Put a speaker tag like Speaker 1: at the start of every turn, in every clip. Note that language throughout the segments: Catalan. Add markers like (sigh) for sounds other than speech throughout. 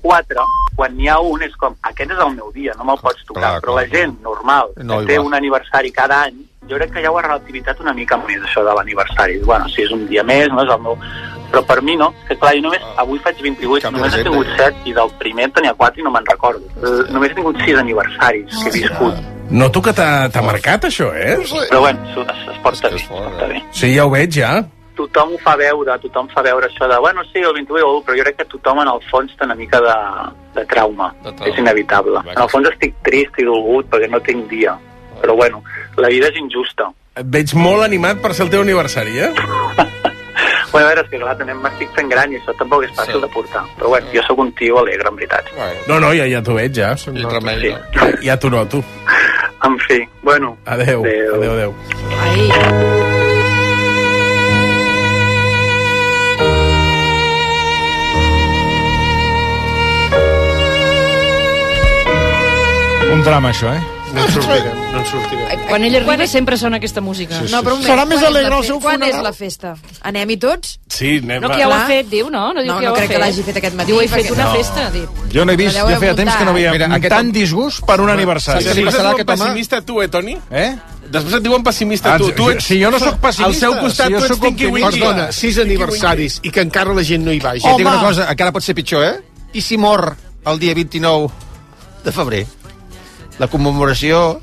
Speaker 1: quatre, quan n'hi ha un, és com, aquest és el meu dia, no me'l pots tocar.
Speaker 2: Clar,
Speaker 1: Clar, Però
Speaker 2: clar.
Speaker 1: la gent normal, que
Speaker 2: No hi
Speaker 1: té
Speaker 2: va.
Speaker 1: un aniversari cada any, jo crec que ja ho ha relativitat una mica més, això de l'aniversari. Bueno, si és un dia més, no és el meu... Però per mi no, que clar, jo només, avui faig 28,
Speaker 2: Ah, Cap eh?
Speaker 1: només he
Speaker 2: presenta,
Speaker 1: tingut
Speaker 2: ja.
Speaker 1: 7 i del primer en tenia 4 i no me'n recordo. Eh, Només he tingut 6 aniversaris que he viscut.
Speaker 3: No tu que t'ha t'ha marcat, això, eh?
Speaker 1: Però bueno, s'ho- es, es porta
Speaker 2: És que
Speaker 1: bé,
Speaker 2: és
Speaker 1: es
Speaker 2: fort,
Speaker 1: porta
Speaker 2: eh?
Speaker 1: bé.
Speaker 3: Sí, ja ho veig, ja.
Speaker 1: tothom ho fa veure, tothom fa veure això de, bueno, sí, el 21 o l'1", però jo crec que tothom en el fons té una mica de, de trauma.
Speaker 2: De
Speaker 1: De
Speaker 2: trauma.
Speaker 1: trauma. És inevitable.
Speaker 2: Vaja.
Speaker 1: En el fons estic trist i dolgut perquè no tinc dia. Però bueno, la vida és injusta.
Speaker 3: Et veig molt animat per ser el teu aniversari, eh?
Speaker 1: Bueno, a veure, és que clar, també m'estic fent gran i això tampoc és fàcil
Speaker 2: Sí.
Speaker 1: sí. de portar. Però bueno, jo sóc un tio alegre, en veritat.
Speaker 2: Bueno,
Speaker 3: No, no, ja, ja t'ho veig, ja.
Speaker 2: i remei,
Speaker 1: Sí.
Speaker 2: no?
Speaker 3: Ja, ja t'ho noto.
Speaker 1: En fi, bueno,
Speaker 3: Adéu.
Speaker 1: Adéu.
Speaker 3: Adéu, adéu.
Speaker 4: Ai,
Speaker 5: Un drama, això, eh?
Speaker 6: No en sortirem, no en sortirem.
Speaker 4: quan ell arriba sempre sona aquesta música.
Speaker 6: Sí, sí.
Speaker 7: No, però un
Speaker 6: Serà
Speaker 7: moment,
Speaker 6: més
Speaker 7: quan és
Speaker 6: alegre
Speaker 7: la
Speaker 6: el
Speaker 7: fe-
Speaker 6: seu
Speaker 7: Quan és
Speaker 6: funeral?
Speaker 7: la festa? Anem-hi tots?
Speaker 3: Sí,
Speaker 5: Eh,
Speaker 3: anem
Speaker 4: No,
Speaker 3: a-
Speaker 4: que ja ho ha
Speaker 7: Clar.
Speaker 4: fet, diu, no? No, diu
Speaker 7: No,
Speaker 4: que ja
Speaker 7: no
Speaker 4: ho ha
Speaker 7: crec
Speaker 4: fet.
Speaker 7: que l'hagi fet aquest matí,
Speaker 4: Diu, he fet
Speaker 7: perquè-
Speaker 4: una
Speaker 7: No.
Speaker 4: festa,
Speaker 7: (laughs)
Speaker 4: ha dit.
Speaker 5: Jo n'he vist,
Speaker 7: La deu
Speaker 5: ja feia
Speaker 7: apuntar,
Speaker 5: temps que no veia
Speaker 8: eh? Mira,
Speaker 5: Mira,
Speaker 8: aquest-
Speaker 5: tant disgust per un aniversari.
Speaker 8: Saps què li
Speaker 3: Després
Speaker 8: passarà a
Speaker 3: ets
Speaker 8: aquest
Speaker 3: molt
Speaker 8: home?
Speaker 3: pessimista, tu, eh, Toni?
Speaker 5: Eh?
Speaker 3: Després et diuen pessimista,
Speaker 5: Ah,
Speaker 3: tu. tu
Speaker 5: si-
Speaker 3: ets...
Speaker 5: si jo no sóc pessimista,
Speaker 3: Al seu costat
Speaker 5: si jo
Speaker 3: tu ets
Speaker 5: sóc
Speaker 3: Tinky
Speaker 5: optimista.
Speaker 3: Winky.
Speaker 5: Perdona,
Speaker 6: Perdona, sis aniversaris i que encara la gent no hi vagi.
Speaker 8: I et dic una cosa, encara pot ser pitjor, eh? I si mor el dia 29 de febrer? La commemoració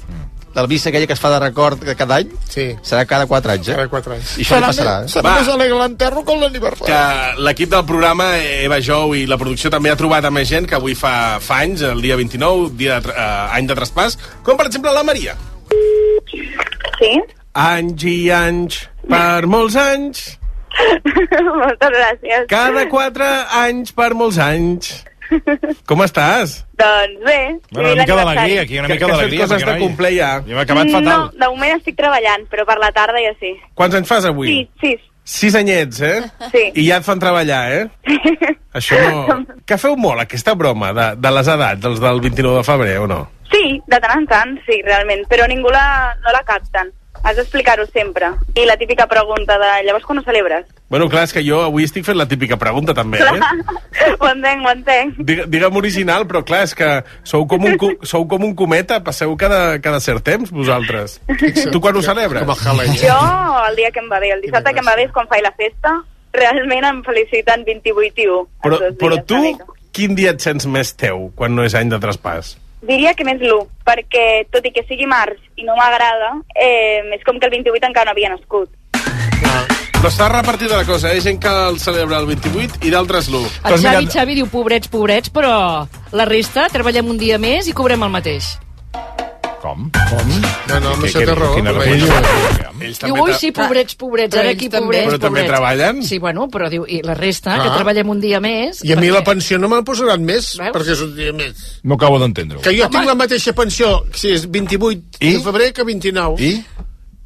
Speaker 8: de la missa aquella que es fa de record de cada any
Speaker 6: Sí,
Speaker 8: serà cada 4 anys,
Speaker 6: cada
Speaker 8: eh?
Speaker 6: quatre anys.
Speaker 8: I això li passarà,
Speaker 6: més,
Speaker 8: eh?
Speaker 6: serà
Speaker 3: Va.
Speaker 6: més alegre l'enterro que l'aniversari.
Speaker 3: que l'equip del programa, eh, Eva Jou i la producció també ha trobat a més gent que avui fa, fa anys, el dia 29, dia de, tra- eh, any de traspàs, com per exemple la Maria.
Speaker 9: Sí,
Speaker 3: Anys i anys, per
Speaker 5: (laughs)
Speaker 3: molts anys,
Speaker 9: moltes gràcies.
Speaker 3: cada quatre anys per molts anys. Com estàs?
Speaker 9: Doncs bé.
Speaker 5: Bueno, una
Speaker 9: sí,
Speaker 5: mica
Speaker 9: l'aniversari.
Speaker 5: d'alegria, aquí, una mica
Speaker 3: que has fet
Speaker 5: d'alegria.
Speaker 3: coses de complir ja.
Speaker 5: Jo m'he acabat fatal.
Speaker 9: Mm, No, de moment estic treballant, però per la tarda ja sí.
Speaker 3: Quants anys fas avui?
Speaker 9: Sí, sí.
Speaker 3: Sis anyets, eh?
Speaker 9: Sí.
Speaker 3: I ja et fan treballar,
Speaker 5: (laughs)
Speaker 3: eh? Això no... Que feu molt aquesta broma de, de les edats, dels del 29 de febrer, o no?
Speaker 9: (laughs) Sí, de tant en tant, sí, realment. Però ningú la, no la capten. Has d'explicar-ho sempre. I la típica pregunta de llavors quan ho celebres?
Speaker 3: Bueno, clar, és que jo avui estic fent la típica pregunta, també, eh?
Speaker 9: (laughs) ho entenc, ho entenc.
Speaker 3: Digue- Digue'm original, però clar, és que sou com un, co- sou com un cometa, passeu cada, cada cert temps, vosaltres. Tu quan ho celebres?
Speaker 6: Com el Halloween.
Speaker 9: Jo, el dia que em va bé, el dissabte que em va bé és quan faig la festa, realment em feliciten 28 i 1.
Speaker 3: Però,
Speaker 9: els dos
Speaker 3: però
Speaker 9: dies,
Speaker 3: tu,
Speaker 9: una mica.
Speaker 3: quin dia et sents més teu quan no és any de traspàs?
Speaker 9: Diria que més l'1, perquè tot i que sigui març i no m'agrada, eh, és com que el 28 encara no havia nascut.
Speaker 3: Però està repartida la cosa, hi ha gent que el celebra el 28 i d'altres l'1.
Speaker 4: El
Speaker 5: Doncs
Speaker 4: Xavi,
Speaker 5: mira-
Speaker 4: Xavi diu, pobrets, pobrets, però la resta treballem un dia més i cobrem el mateix.
Speaker 5: Com? Com?
Speaker 6: No, no, amb
Speaker 5: Que-
Speaker 6: això
Speaker 5: que-
Speaker 6: té raó.
Speaker 5: quina
Speaker 6: però
Speaker 5: vergonya.
Speaker 6: bé.
Speaker 3: Ells
Speaker 4: Diu, ui, sí, pobrets, pobrets,
Speaker 7: Però
Speaker 4: ara
Speaker 7: ells
Speaker 4: aquí,
Speaker 7: també.
Speaker 4: pobrets,
Speaker 3: Però també
Speaker 4: pobrets.
Speaker 3: treballen?
Speaker 4: Sí, bueno, però diu, i la resta, que
Speaker 6: Ah.
Speaker 4: treballem un dia més...
Speaker 6: I a mi
Speaker 4: perquè-
Speaker 6: la pensió no me'n posaran més,
Speaker 4: Veus?
Speaker 6: perquè és un dia més.
Speaker 5: No acabo d'entendre-ho.
Speaker 6: Que jo tinc la mateixa pensió si és 28
Speaker 5: I?
Speaker 6: de febrer que 29.
Speaker 5: I?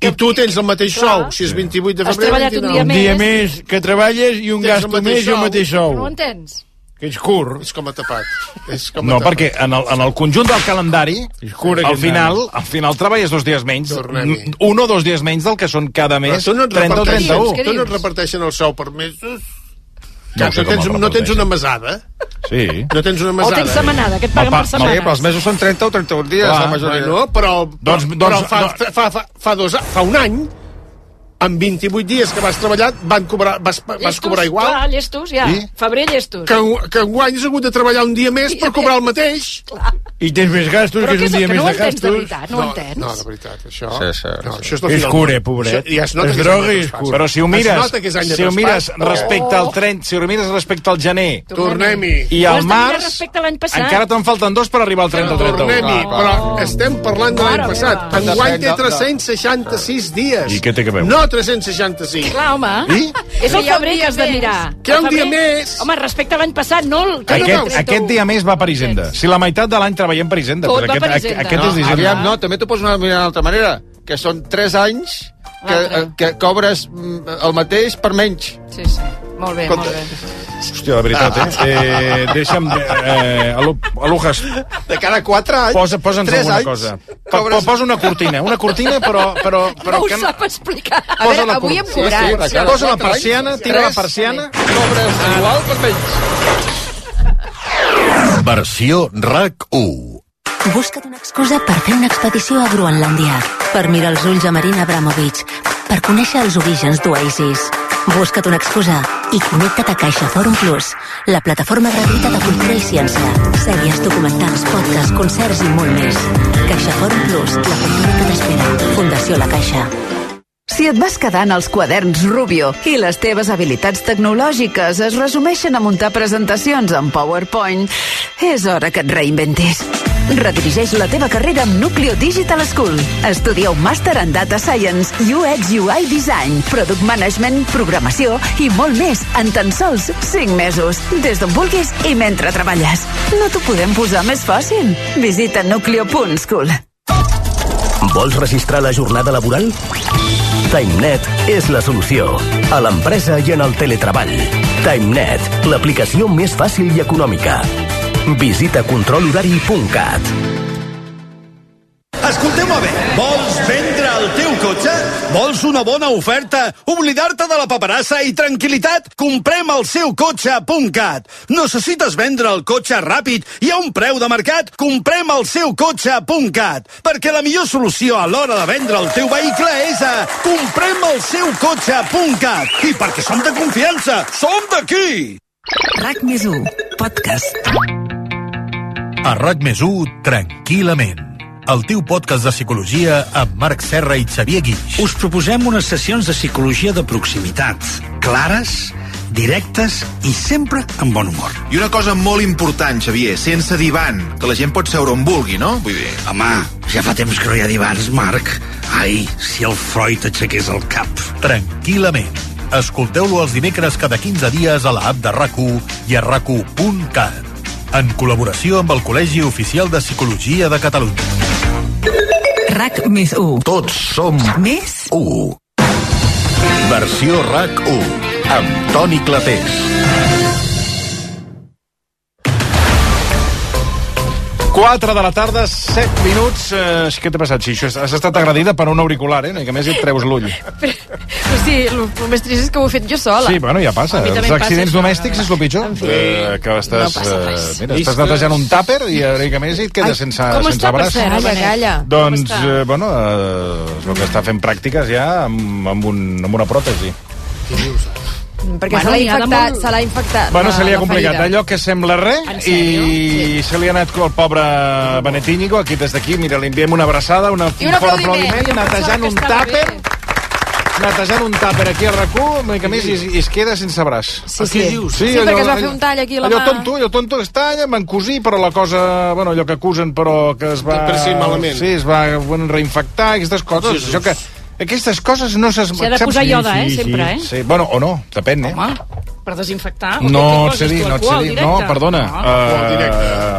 Speaker 6: I tu tens el mateix sou si és 28 de
Speaker 4: Has
Speaker 6: febrer
Speaker 4: treballat un dia
Speaker 5: Un
Speaker 4: Més.
Speaker 5: dia més que treballes i un
Speaker 6: Tens el
Speaker 5: gasto
Speaker 6: mateix
Speaker 5: més i el
Speaker 6: sou.
Speaker 5: mateix
Speaker 4: No
Speaker 5: sou.
Speaker 4: ho entens?
Speaker 5: Que és curt.
Speaker 6: És com a tapat. És com a
Speaker 5: No,
Speaker 6: tapat.
Speaker 5: perquè en el, en el conjunt del calendari,
Speaker 6: cura
Speaker 5: al
Speaker 6: aquest
Speaker 5: final,
Speaker 6: nano.
Speaker 5: al final treballes dos dies menys,
Speaker 6: Tornem-hi.
Speaker 5: n- un o dos dies menys del que són cada
Speaker 6: Però
Speaker 5: mes,
Speaker 6: tu no et
Speaker 5: 30 o
Speaker 6: reparteixen,
Speaker 5: 31.
Speaker 6: tu no et
Speaker 4: dius?
Speaker 6: reparteixen el sou per mesos?
Speaker 5: No
Speaker 6: No,
Speaker 5: sé
Speaker 6: no,
Speaker 5: com
Speaker 6: tens,
Speaker 5: el
Speaker 6: no tens una
Speaker 5: reparteixen.
Speaker 6: mesada? eh?
Speaker 5: Sí.
Speaker 6: No tens una
Speaker 4: O
Speaker 6: mesada? eh?
Speaker 4: tens setmanada, que et
Speaker 5: Pa-
Speaker 4: paguen per
Speaker 5: pa-
Speaker 8: Sí, però els
Speaker 4: setmana.
Speaker 8: mesos són 30 o 31 dies,
Speaker 5: Clar,
Speaker 8: la majoria.
Speaker 4: eh.
Speaker 6: Bueno, però,
Speaker 5: Doncs-
Speaker 6: doncs,
Speaker 5: doncs-
Speaker 6: però fa,
Speaker 5: no.
Speaker 6: fa, fa, fa, dos, a- fa un any, amb 28 dies que vas treballar, van cobrar, vas, vas cobrar igual
Speaker 4: Clar, llestos, ja.
Speaker 5: Sí.
Speaker 4: Febrer, llestos.
Speaker 6: que, en- que enguany has hagut de treballar un dia més per cobrar el mateix.
Speaker 5: I tens més gastos,
Speaker 4: Però
Speaker 5: que
Speaker 4: què
Speaker 5: és
Speaker 4: és
Speaker 5: un
Speaker 4: el
Speaker 5: dia
Speaker 4: que
Speaker 5: més
Speaker 4: no
Speaker 5: de
Speaker 4: ho entens, de
Speaker 5: gastos.
Speaker 4: veritat? No ho entens?
Speaker 6: No, de veritat, això...
Speaker 8: Sí, sí,
Speaker 6: no,
Speaker 8: sí.
Speaker 6: això és, la
Speaker 5: És
Speaker 6: fi del
Speaker 5: curt, eh,
Speaker 6: món.
Speaker 5: pobret.
Speaker 6: Això, ja es nota
Speaker 5: és
Speaker 6: que
Speaker 5: droga i
Speaker 6: és
Speaker 5: és
Speaker 6: any de
Speaker 5: curt.
Speaker 6: traspàs.
Speaker 5: Però si ho
Speaker 6: Es
Speaker 5: mires,
Speaker 6: nota que és any de
Speaker 5: si ho mires
Speaker 6: traspàs.
Speaker 5: respecte al 30, si ho mires respecte al gener
Speaker 6: Tornem-hi.
Speaker 5: i
Speaker 4: Ho
Speaker 5: al
Speaker 4: has de mirar
Speaker 5: març,
Speaker 4: respecte a l'any passat.
Speaker 5: encara te'n falten dos per arribar al 30 o 31.
Speaker 6: Tornem-hi, però estem parlant de l'any
Speaker 4: Mare
Speaker 6: passat.
Speaker 4: meva.
Speaker 6: Enguany té
Speaker 8: De- de-
Speaker 6: 366 dies.
Speaker 5: I què té que veure?
Speaker 6: No 365.
Speaker 4: Clar, home. És
Speaker 7: Però
Speaker 4: el
Speaker 7: hi ha un
Speaker 4: febrer
Speaker 7: dia
Speaker 4: que has de
Speaker 7: més.
Speaker 4: mirar.
Speaker 6: Que hi ha un
Speaker 4: El febrer-
Speaker 6: dia més.
Speaker 4: Home, respecte a l'any passat, no... El... que no
Speaker 5: Aquest,
Speaker 4: veus tu.
Speaker 5: aquest dia més va per Hisenda. Si la meitat de l'any treballem per Hisenda.
Speaker 4: Tot
Speaker 5: doncs
Speaker 4: va
Speaker 5: aquest,
Speaker 4: per Hisenda.
Speaker 5: a- Aquest
Speaker 8: No,
Speaker 5: és d'Hisenda.
Speaker 8: aviam, no, també t'ho pots mirar d'una altra manera, que són 3 anys que,
Speaker 4: L'altre.
Speaker 8: eh, que cobres mm, el mateix per menys.
Speaker 4: Sí, sí. Molt bé, molt bé.
Speaker 5: Hòstia, de veritat, eh? eh deixa'm... Eh, alu- Alujas,
Speaker 8: De cada 4 anys,
Speaker 5: posa, posa'ns
Speaker 8: tres
Speaker 5: alguna
Speaker 8: anys,
Speaker 5: cosa. Po, po,
Speaker 8: Cobres...
Speaker 5: posa una cortina, una cortina, però... però, però
Speaker 4: No ho
Speaker 5: que no-
Speaker 4: sap explicar.
Speaker 7: A veure,
Speaker 5: la
Speaker 7: avui
Speaker 5: cor-
Speaker 7: hem cobrat.
Speaker 8: de
Speaker 5: Posa la
Speaker 8: cada quatre anys,
Speaker 5: persiana, tira la
Speaker 8: tres Ah.
Speaker 5: persiana...
Speaker 8: Cobres igual per menys.
Speaker 10: Versió RAC1.
Speaker 11: Busca't una excusa per fer una expedició a Groenlàndia, per mirar els ulls a Marina Abramovic, per conèixer els orígens d'Oasis. Busca't una excusa i connecta't a CaixaForum Plus, la plataforma gratuïta de cultura i ciència. Sèries, documentals, podcasts, concerts i molt més. CaixaForum Plus, la cultura que t'espera. Fundació La Caixa.
Speaker 12: Si et vas quedant els quaderns Rubio i les teves habilitats tecnològiques es resumeixen a muntar presentacions en PowerPoint, és hora que et reinventis. Redirigeix la teva carrera amb Nucleo Digital School. Estudia un màster en Data Science, UX UI Design, Product Management, Programació i molt més en tan sols 5 mesos, des d'on vulguis i mentre treballes. No t'ho podem posar més fàcil. Visita nucleo.school.
Speaker 9: Vols registrar la jornada laboral? TimeNet és la solució. A l'empresa i en el teletreball. TimeNet, l'aplicació més fàcil i econòmica. Visita controlhorari.cat.
Speaker 13: Escolteu-me bé, vols vendre el teu cotxe? Vols una bona oferta? Oblidar-te de la paperassa i tranquil·litat? Comprem el seu cotxe.cat. Necessites vendre el cotxe ràpid i a un preu de mercat? Comprem el seu cotxe.cat. Perquè la millor solució a l'hora de vendre el teu vehicle és a comprem el seu cotxe.cat. I perquè som de confiança, som d'aquí!
Speaker 14: RAC més 1, podcast.
Speaker 10: A RAC més 1, tranquil·lament. El teu podcast de psicologia amb Marc Serra i Xavier Guix.
Speaker 15: Us proposem unes sessions de psicologia de proximitat, clares, directes i sempre amb bon humor.
Speaker 16: I una cosa molt important, Xavier, sense divan, que la gent pot seure on vulgui, no? Vull dir...
Speaker 15: Home, ja fa temps que no hi ha divans, Marc. Ai, si el Freud aixequés el cap.
Speaker 10: Tranquil·lament. Escolteu-lo els dimecres cada 15 dies a l'app de rac i a rac en col·laboració amb el Col·legi Oficial de Psicologia de Catalunya.
Speaker 14: RAC més 1.
Speaker 10: Tots som
Speaker 14: més
Speaker 10: 1. Versió RAC1 amb Toni Clapés.
Speaker 5: Quatre 4 de la tarda, 7 minuts. Eh, què t'ha passat, Xixo? Has estat agredida per un auricular, eh? No, I que a més et treus l'ull.
Speaker 7: O sigui, el, el més trist és que ho he fet jo sola.
Speaker 5: Sí, bueno, ja passa.
Speaker 7: A mi també
Speaker 5: Els
Speaker 7: em
Speaker 5: accidents
Speaker 7: passa,
Speaker 5: domèstics és el pitjor.
Speaker 7: En fi,
Speaker 5: Eh, que estàs,
Speaker 7: no passa res.
Speaker 5: eh, mira, estàs netejant un tàper i, eh, i que a més et quedes sense,
Speaker 7: com
Speaker 5: sense
Speaker 7: està, per
Speaker 5: braç.
Speaker 7: cert, el Calla, Benet? calla.
Speaker 5: Doncs,
Speaker 7: Com està?
Speaker 5: eh, bueno, eh, és el que està fent pràctiques ja amb, amb, un, amb una pròtesi.
Speaker 7: Perquè
Speaker 4: Bueno,
Speaker 7: se l'ha
Speaker 4: n'hi ha de
Speaker 7: infectat,
Speaker 4: molt-
Speaker 7: se l'ha infectat.
Speaker 5: Bueno,
Speaker 7: la-
Speaker 5: se li ha
Speaker 7: la
Speaker 5: complicat
Speaker 7: Ah, ferida.
Speaker 5: allò que sembla
Speaker 7: En
Speaker 5: res
Speaker 7: sèrio?
Speaker 5: i se li ha anat el pobre Benet Íñigo, aquí des d'aquí, mira, li enviem una abraçada, una,
Speaker 7: I un aplaudiment. Jo pensava
Speaker 5: netejant
Speaker 7: que
Speaker 5: un
Speaker 7: estava
Speaker 5: tàper, netejant un tàper aquí al racó, una mica més, i, i es queda sense braç.
Speaker 7: Sí, sí. Sí,
Speaker 5: allò-
Speaker 7: perquè es va fer
Speaker 5: allò-
Speaker 7: un tall aquí a la
Speaker 5: allò
Speaker 7: mà.
Speaker 5: Tonto, allò tonto que es talla, m'encosí, però la cosa, bueno, allò que acusen, però que es va...
Speaker 6: Per si malament.
Speaker 5: Sí, es va bueno, reinfectar, aquestes coses.
Speaker 6: Jesús.
Speaker 5: Això que, aquestes coses no s'es...
Speaker 4: S'hi ha de
Speaker 5: saps?
Speaker 4: posar ioda, eh, sempre, eh?
Speaker 5: Sí, bueno, o no, depèn, eh?
Speaker 4: Home, per
Speaker 7: Ah,
Speaker 4: desinfectar? o què-
Speaker 5: No,
Speaker 4: què
Speaker 5: et sé
Speaker 4: poses
Speaker 5: dir,
Speaker 4: tu,
Speaker 5: no et sé
Speaker 4: alcohol
Speaker 5: dir.
Speaker 4: directe? Ah.
Speaker 5: No, perdona.
Speaker 4: No.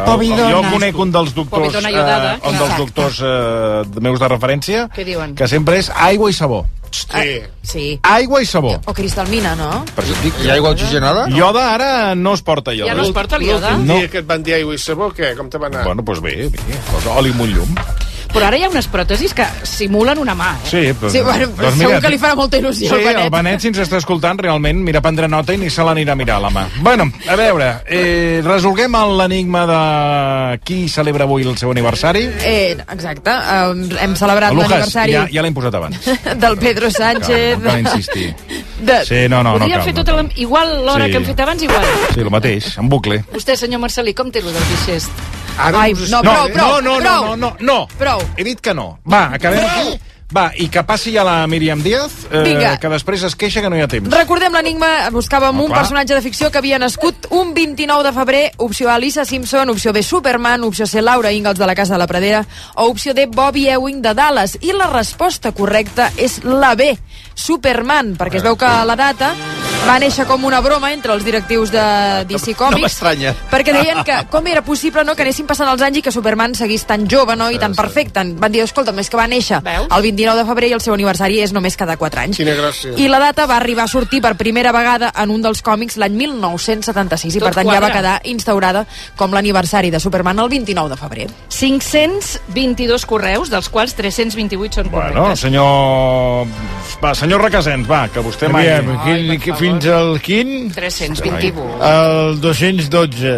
Speaker 5: Uh,
Speaker 4: Povidona.
Speaker 5: jo conec un dels doctors, eh,
Speaker 4: Povidona iodada,
Speaker 5: un dels
Speaker 4: clar.
Speaker 5: doctors uh, meus de referència,
Speaker 7: Què diuen?
Speaker 5: que sempre és aigua i sabó.
Speaker 7: Ah, sí.
Speaker 5: Aigua i sabó.
Speaker 7: O cristalmina, no?
Speaker 5: Per això et dic,
Speaker 8: I aigua oxigenada?
Speaker 5: Ioda ara no es porta ioda.
Speaker 4: Ja no es porta l'ioda?
Speaker 5: No.
Speaker 6: No. dia que et van dir aigua i sabó, què? Com te va anar?
Speaker 5: Bueno, doncs bé, bé. Posa oli amb un llum.
Speaker 4: Però ara hi ha unes pròtesis que simulen una mà, eh?
Speaker 5: Sí, però...
Speaker 7: Sí, bueno,
Speaker 5: doncs
Speaker 7: segur
Speaker 5: mira,
Speaker 7: que li farà molta
Speaker 5: Sí,
Speaker 7: il·lusió al Benet.
Speaker 5: el Benet, si ens està escoltant, realment, mira, prendre nota i ni se l'anirà a mirar la mà. Bueno, a veure, eh, resolguem l'enigma de qui celebra avui el seu aniversari.
Speaker 7: Eh, exacte, um, hem celebrat
Speaker 5: Lujas,
Speaker 7: l'aniversari
Speaker 5: ja, ja l'hem posat abans.
Speaker 7: del Pedro Sánchez.
Speaker 5: Cal, cal insistir.
Speaker 7: De...
Speaker 5: Sí, no, no, no
Speaker 4: Podríem
Speaker 5: cal.
Speaker 4: fer
Speaker 5: no
Speaker 4: tot
Speaker 5: cal.
Speaker 4: el... Igual l'hora
Speaker 5: Sí.
Speaker 4: que hem fet abans, igual.
Speaker 5: Sí, el mateix, en bucle.
Speaker 4: Vostè, senyor Marcelí, com té lo del bixest?
Speaker 6: Ara
Speaker 7: Ai,
Speaker 6: us explico.
Speaker 7: no,
Speaker 5: no,
Speaker 7: prou, prou,
Speaker 5: no, no,
Speaker 7: prou.
Speaker 5: no, no, no.
Speaker 7: Prou.
Speaker 5: He dit que no. Va, acabem aquí. Va, i que passi ja la Míriam Díaz, eh,
Speaker 7: Vinga.
Speaker 5: que després es queixa que no hi ha temps.
Speaker 7: Recordem l'enigma, buscàvem
Speaker 5: Home,
Speaker 7: un
Speaker 5: clar.
Speaker 7: personatge de ficció que havia nascut un 29 de febrer, opció A, Lisa Simpson, opció B, Superman, opció C, Laura Ingalls de la Casa de la Pradera, o opció D, Bobby Ewing de Dallas. I la resposta correcta és la B, Superman, perquè es veu que la data va néixer com una broma entre els directius de DC Comics.
Speaker 8: m'estranya.
Speaker 7: Perquè deien que com era possible no, que anessin passant els anys i que Superman seguís tan jove no, i tan perfecte. Van dir, escolta, més que va néixer
Speaker 4: Veus?
Speaker 7: el 29 de febrer i el seu aniversari és només cada 4 anys.
Speaker 6: Quina gràcia.
Speaker 7: I la data va arribar a sortir per primera vegada en un dels còmics l'any 1976 i
Speaker 4: Tot
Speaker 7: per tant ja va
Speaker 4: quadra.
Speaker 7: quedar instaurada com l'aniversari de Superman el 29 de febrer.
Speaker 4: 522 correus, dels quals 328 són
Speaker 5: Bueno,
Speaker 4: correctes.
Speaker 5: senyor... Va, senyor Requesens, va, que vostè mai...
Speaker 4: Ai, per favor.
Speaker 17: fins al quin?
Speaker 4: 328.
Speaker 17: El 212.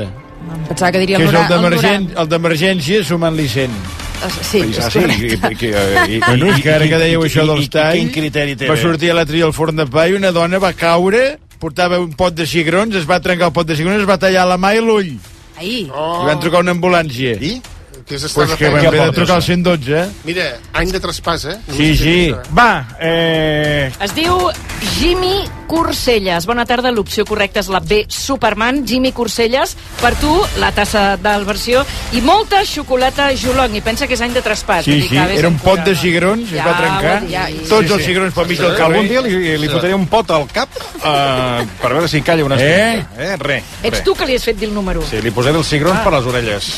Speaker 7: Pensava que diria
Speaker 18: que
Speaker 7: el,
Speaker 18: és el
Speaker 7: 90, el 90.
Speaker 18: d'emergència- el d'emergència sumant-li 100.
Speaker 7: Sí,
Speaker 5: Ah,
Speaker 7: és correcte.
Speaker 18: (laughs) Bueno, és que ara que dèieu això dels talls, va sortir a l'altre dia al forn de pa i una dona va caure, portava un pot de cigrons, es va trencar el pot de cigrons, es va tallar la mà i l'ull.
Speaker 7: Ahir.
Speaker 18: I
Speaker 6: Oh.
Speaker 18: Oh. van trucar una ambulància. I?
Speaker 6: Que és estar
Speaker 18: Pues que van haver de trucar al 112, eh?
Speaker 6: Mira, any de traspàs, eh? Només
Speaker 18: Sí,
Speaker 6: et
Speaker 18: sí.
Speaker 6: dic això,
Speaker 18: Va, eh...
Speaker 4: Es diu Jimmy Curselles. Bona tarda, l'opció correcta és la B, Superman. Jimmy Curselles, per tu, la tassa del versió i molta xocolata Jolong. I pensa que és any de traspàs.
Speaker 18: Sí,
Speaker 4: vull dir
Speaker 18: sí,
Speaker 4: que ara és
Speaker 18: era un pot de
Speaker 4: programa.
Speaker 18: cigrons, es
Speaker 4: Ja,
Speaker 18: va trencar,
Speaker 4: ho ha dit, ja,
Speaker 18: tots
Speaker 4: sí,
Speaker 18: els
Speaker 4: sí.
Speaker 18: cigrons pel mig del
Speaker 5: Algun
Speaker 18: cabell.
Speaker 5: dia li- li fotré
Speaker 18: un pot al cap
Speaker 5: Uh, per veure si calla una
Speaker 18: Eh?
Speaker 5: estona. Eh? Res.
Speaker 4: Ets
Speaker 5: res.
Speaker 4: tu que li has fet dir el número.
Speaker 5: Sí, li posaré els cigrons
Speaker 18: Ah.
Speaker 5: per les orelles.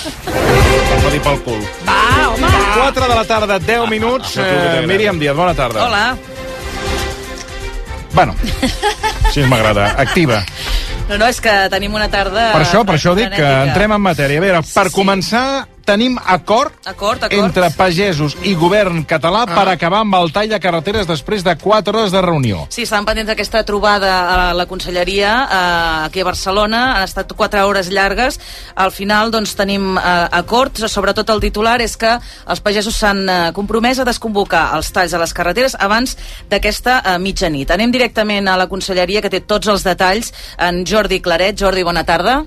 Speaker 5: Per dir pel cul.
Speaker 4: Va, home!
Speaker 5: 4 de la tarda, 10
Speaker 18: Ah,
Speaker 5: minuts. Eh, Míriam Díaz, bona tarda.
Speaker 19: Hola.
Speaker 4: (laughs)
Speaker 5: Bueno, sí, m'agrada. Activa.
Speaker 19: No, no, és que tenim una tarda...
Speaker 5: Per això, per això dic que
Speaker 19: frenètica.
Speaker 5: entrem en matèria. A veure, per començar, tenim acord
Speaker 19: Acord, acord. Ah.
Speaker 5: entre pagesos i govern català per acabar amb el tall de carreteres després de 4 hores de reunió.
Speaker 19: Sí, estan pendents d'aquesta trobada a la- la conselleria eh, aquí a Barcelona. Han estat quatre hores llargues. Al final doncs, tenim eh, acords. Sobretot el titular és que els pagesos s'han eh, compromès a desconvocar els talls a les carreteres abans d'aquesta eh, mitjanit. Anem directament a la conselleria que té tots els detalls. En Jordi Claret. Jordi, bona tarda.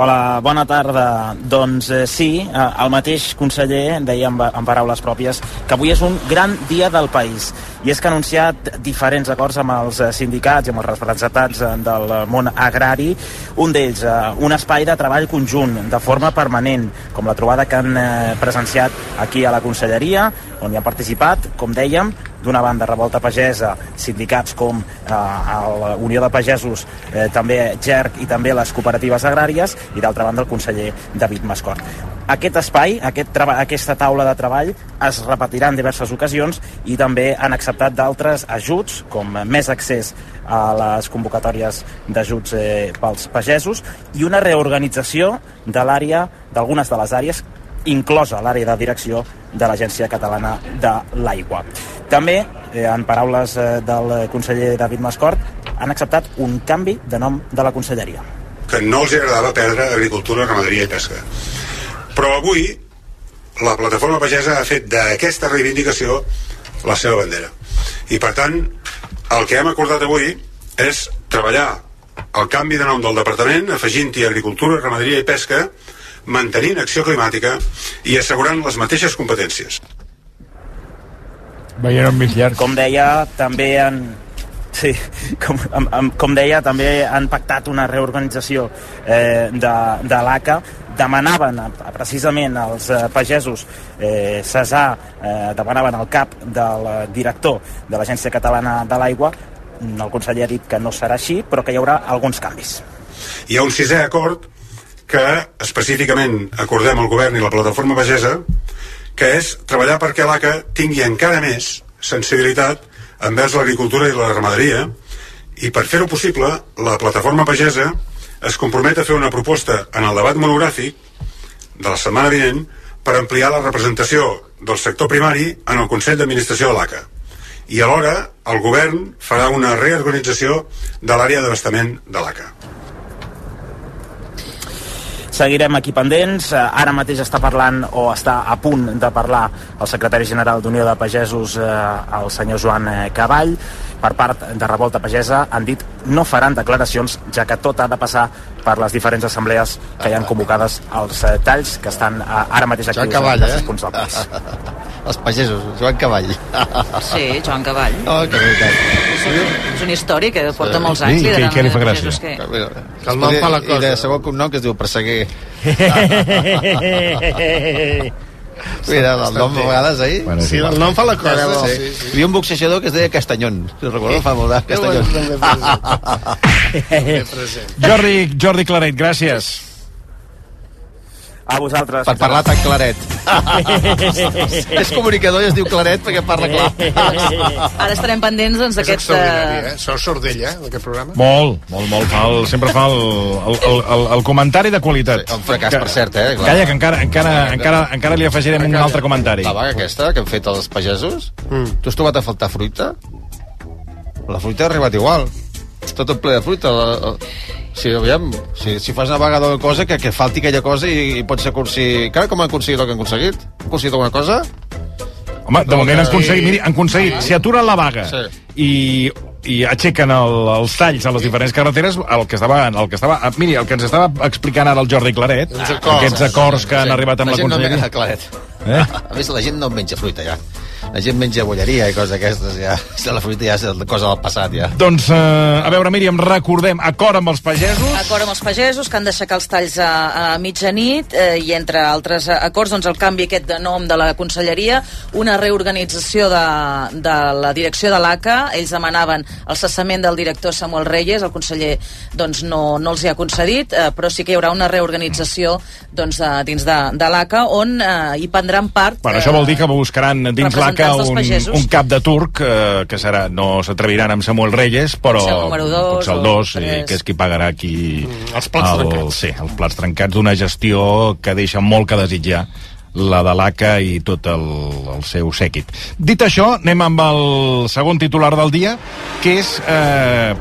Speaker 20: Hola, bona tarda. Doncs eh, sí, eh, el mateix conseller deia amb, amb paraules pròpies que avui és un gran dia del país i és que ha anunciat diferents acords amb els eh, sindicats i amb els representants eh, del món agrari. Un d'ells, eh, un espai de treball conjunt de forma permanent, com la trobada que han eh, presenciat aquí a la conselleria, on hi han participat, com dèiem, d'una banda Revolta Pagesa, sindicats com eh, la Unió de Pagesos, eh, també GERC i també les cooperatives agràries i d'altra banda el conseller David Mascort. Aquest espai, aquest treba, aquesta taula de treball es repetirà en diverses ocasions i també han acceptat d'altres ajuts com eh, més accés a les convocatòries d'ajuts eh, pels pagesos i una reorganització de l'àrea d'algunes de les àrees inclosa l'àrea de direcció de l'Agència Catalana de l'Aigua. També, eh, en paraules eh, del conseller David Mascort, han acceptat un canvi de nom de la conselleria.
Speaker 21: que no els agradava perdre agricultura, ramaderia i pesca. Però avui la plataforma pagesa ha fet d'aquesta reivindicació la seva bandera. I per tant, el que hem acordat avui és treballar el canvi de nom del departament, afegint-hi agricultura, ramaderia i pesca, mantenint acció climàtica i assegurant les mateixes competències.
Speaker 18: Veiem més llarg.
Speaker 20: Com deia, també han... Sí, com, amb, amb, com deia, també han pactat una reorganització eh, de, de l'ACA. Demanaven eh, precisament als eh, pagesos eh, cessar, eh, demanaven el cap del eh, director de l'Agència Catalana de l'Aigua. Mm, El conseller ha dit que no serà així, però que hi haurà alguns canvis.
Speaker 21: Hi ha un sisè acord que específicament acordem el govern i la plataforma pagesa, que és treballar perquè l'ACA tingui encara més sensibilitat envers l'agricultura i la ramaderia i per fer-ho possible, la plataforma pagesa es compromet a fer una proposta en el debat monogràfic de la setmana vinent per ampliar la representació del sector primari en el Consell d'Administració de l'ACA i alhora el govern farà una reorganització de l'àrea d'abastament de l'ACA.
Speaker 20: Seguirem aquí pendents. Eh, Ara mateix està parlant o està a punt de parlar el secretari general d'Unió de Pagesos, eh, el senyor Joan eh, Cavall. Per part de Revolta Pagesa han dit no faran declaracions, ja que tot ha de passar per les diferents assemblees que hi han convocades als eh, talls que estan eh, ara mateix
Speaker 8: Joan
Speaker 20: actius
Speaker 8: Cavall,
Speaker 20: en diversos
Speaker 8: eh?
Speaker 20: punts del país.
Speaker 8: Els pagesos, Joan Cavall. Ah.
Speaker 19: Sí, Joan Cavall.
Speaker 8: Oh, que veritat.
Speaker 19: És un, és un històric que porta
Speaker 8: Sí.
Speaker 19: molts anys
Speaker 8: Sí, i què-
Speaker 19: liderant
Speaker 8: què li fa
Speaker 19: els
Speaker 8: gràcia?
Speaker 19: pagesos que-
Speaker 8: Que el nom fa la cosa. I de segon cognom que es diu Presseguer. Mira, el nom a vegades, ahir...
Speaker 6: Bueno, sí, el nom fa la cosa,
Speaker 8: Sí.
Speaker 6: sí, sí.
Speaker 8: Hi havia un boxejador que es deia Castanyón. Si us recordeu, fa molt de
Speaker 6: Déu ens
Speaker 8: Castanyón. (laughs)
Speaker 5: Jordi, Jordi Claret, gràcies.
Speaker 20: A vosaltres.
Speaker 8: Per parlar tan
Speaker 20: (laughs)
Speaker 8: claret. És comunicador i es diu claret perquè parla
Speaker 20: (laughs)
Speaker 8: clar.
Speaker 19: Ara estarem pendents doncs,
Speaker 6: És
Speaker 19: d'aquest...
Speaker 6: extraordinari, eh? Sou sordell, eh, d'aquest programa?
Speaker 5: Molt, molt, molt. Fa el, sempre fa el, el, el, el, el comentari de qualitat. Un
Speaker 8: fracàs, per cert, eh, clar.
Speaker 5: Calla, que encara, encara, encara, encara li afegirem un
Speaker 8: Calla.
Speaker 5: altre comentari.
Speaker 8: La vaga aquesta que han fet els pagesos, mm. tu has trobat a faltar fruita? La fruita ha arribat igual. Està tot ple de fruita. La, la... Sí, aviam, si, si fas una vaga d'alguna cosa, que, que falti aquella cosa i, i pots aconseguir... Cara, com han aconseguit el que han aconseguit? Han aconseguit alguna cosa?
Speaker 5: Home, de
Speaker 8: No,
Speaker 5: moment
Speaker 8: que-
Speaker 5: han aconseguit, miri, han aconseguit, si aturen la vaga
Speaker 8: Doncs Sí.
Speaker 5: i, i aixequen el, els talls a les diferents carreteres, el que estava, el que estava, ah, miri, el que ens estava explicant ara el Jordi Claret,
Speaker 8: Uns acords.
Speaker 5: Ah, aquests acords que han arribat amb la,
Speaker 8: la gent
Speaker 5: conselleria.
Speaker 8: No menja claret.
Speaker 5: Eh?
Speaker 8: A més, la gent no menja fruita, ja. La gent menja bolleria i coses d'aquestes, ja. La fruita ja és cosa del passat, ja.
Speaker 5: Doncs, eh, a veure, Míriam, recordem, acord amb els pagesos,
Speaker 19: Acord amb els pagesos, que han d'aixecar els talls a, a mitjanit, eh, i entre altres eh, acords, doncs el canvi aquest de nom de la conselleria, una reorganització de, de la direcció de l'ACA, ells demanaven el cessament del director Samuel Reyes, el conseller doncs, no, no els hi ha concedit, eh, però sí que hi haurà una reorganització doncs, de, dins de, de l'ACA, on eh, hi prendran part...
Speaker 5: Bueno, això vol dir que buscaran dins l'ACA
Speaker 19: representants dels
Speaker 5: un,
Speaker 19: pagesos.
Speaker 5: un cap de turc, eh, que serà, no s'atreviran amb Samuel Reyes, però
Speaker 19: Potser el número dos
Speaker 5: potser el
Speaker 19: o
Speaker 5: 2,
Speaker 19: el
Speaker 5: i
Speaker 19: tres.
Speaker 5: que és qui pagarà aquí...
Speaker 8: Mm,
Speaker 6: els plats
Speaker 5: el,
Speaker 6: trencats.
Speaker 5: Sí, els plats trencats d'una gestió que deixa molt que desitjar la de l'ACA i tot el, el seu sèquit. Dit això, anem amb el segon titular del dia, que és eh,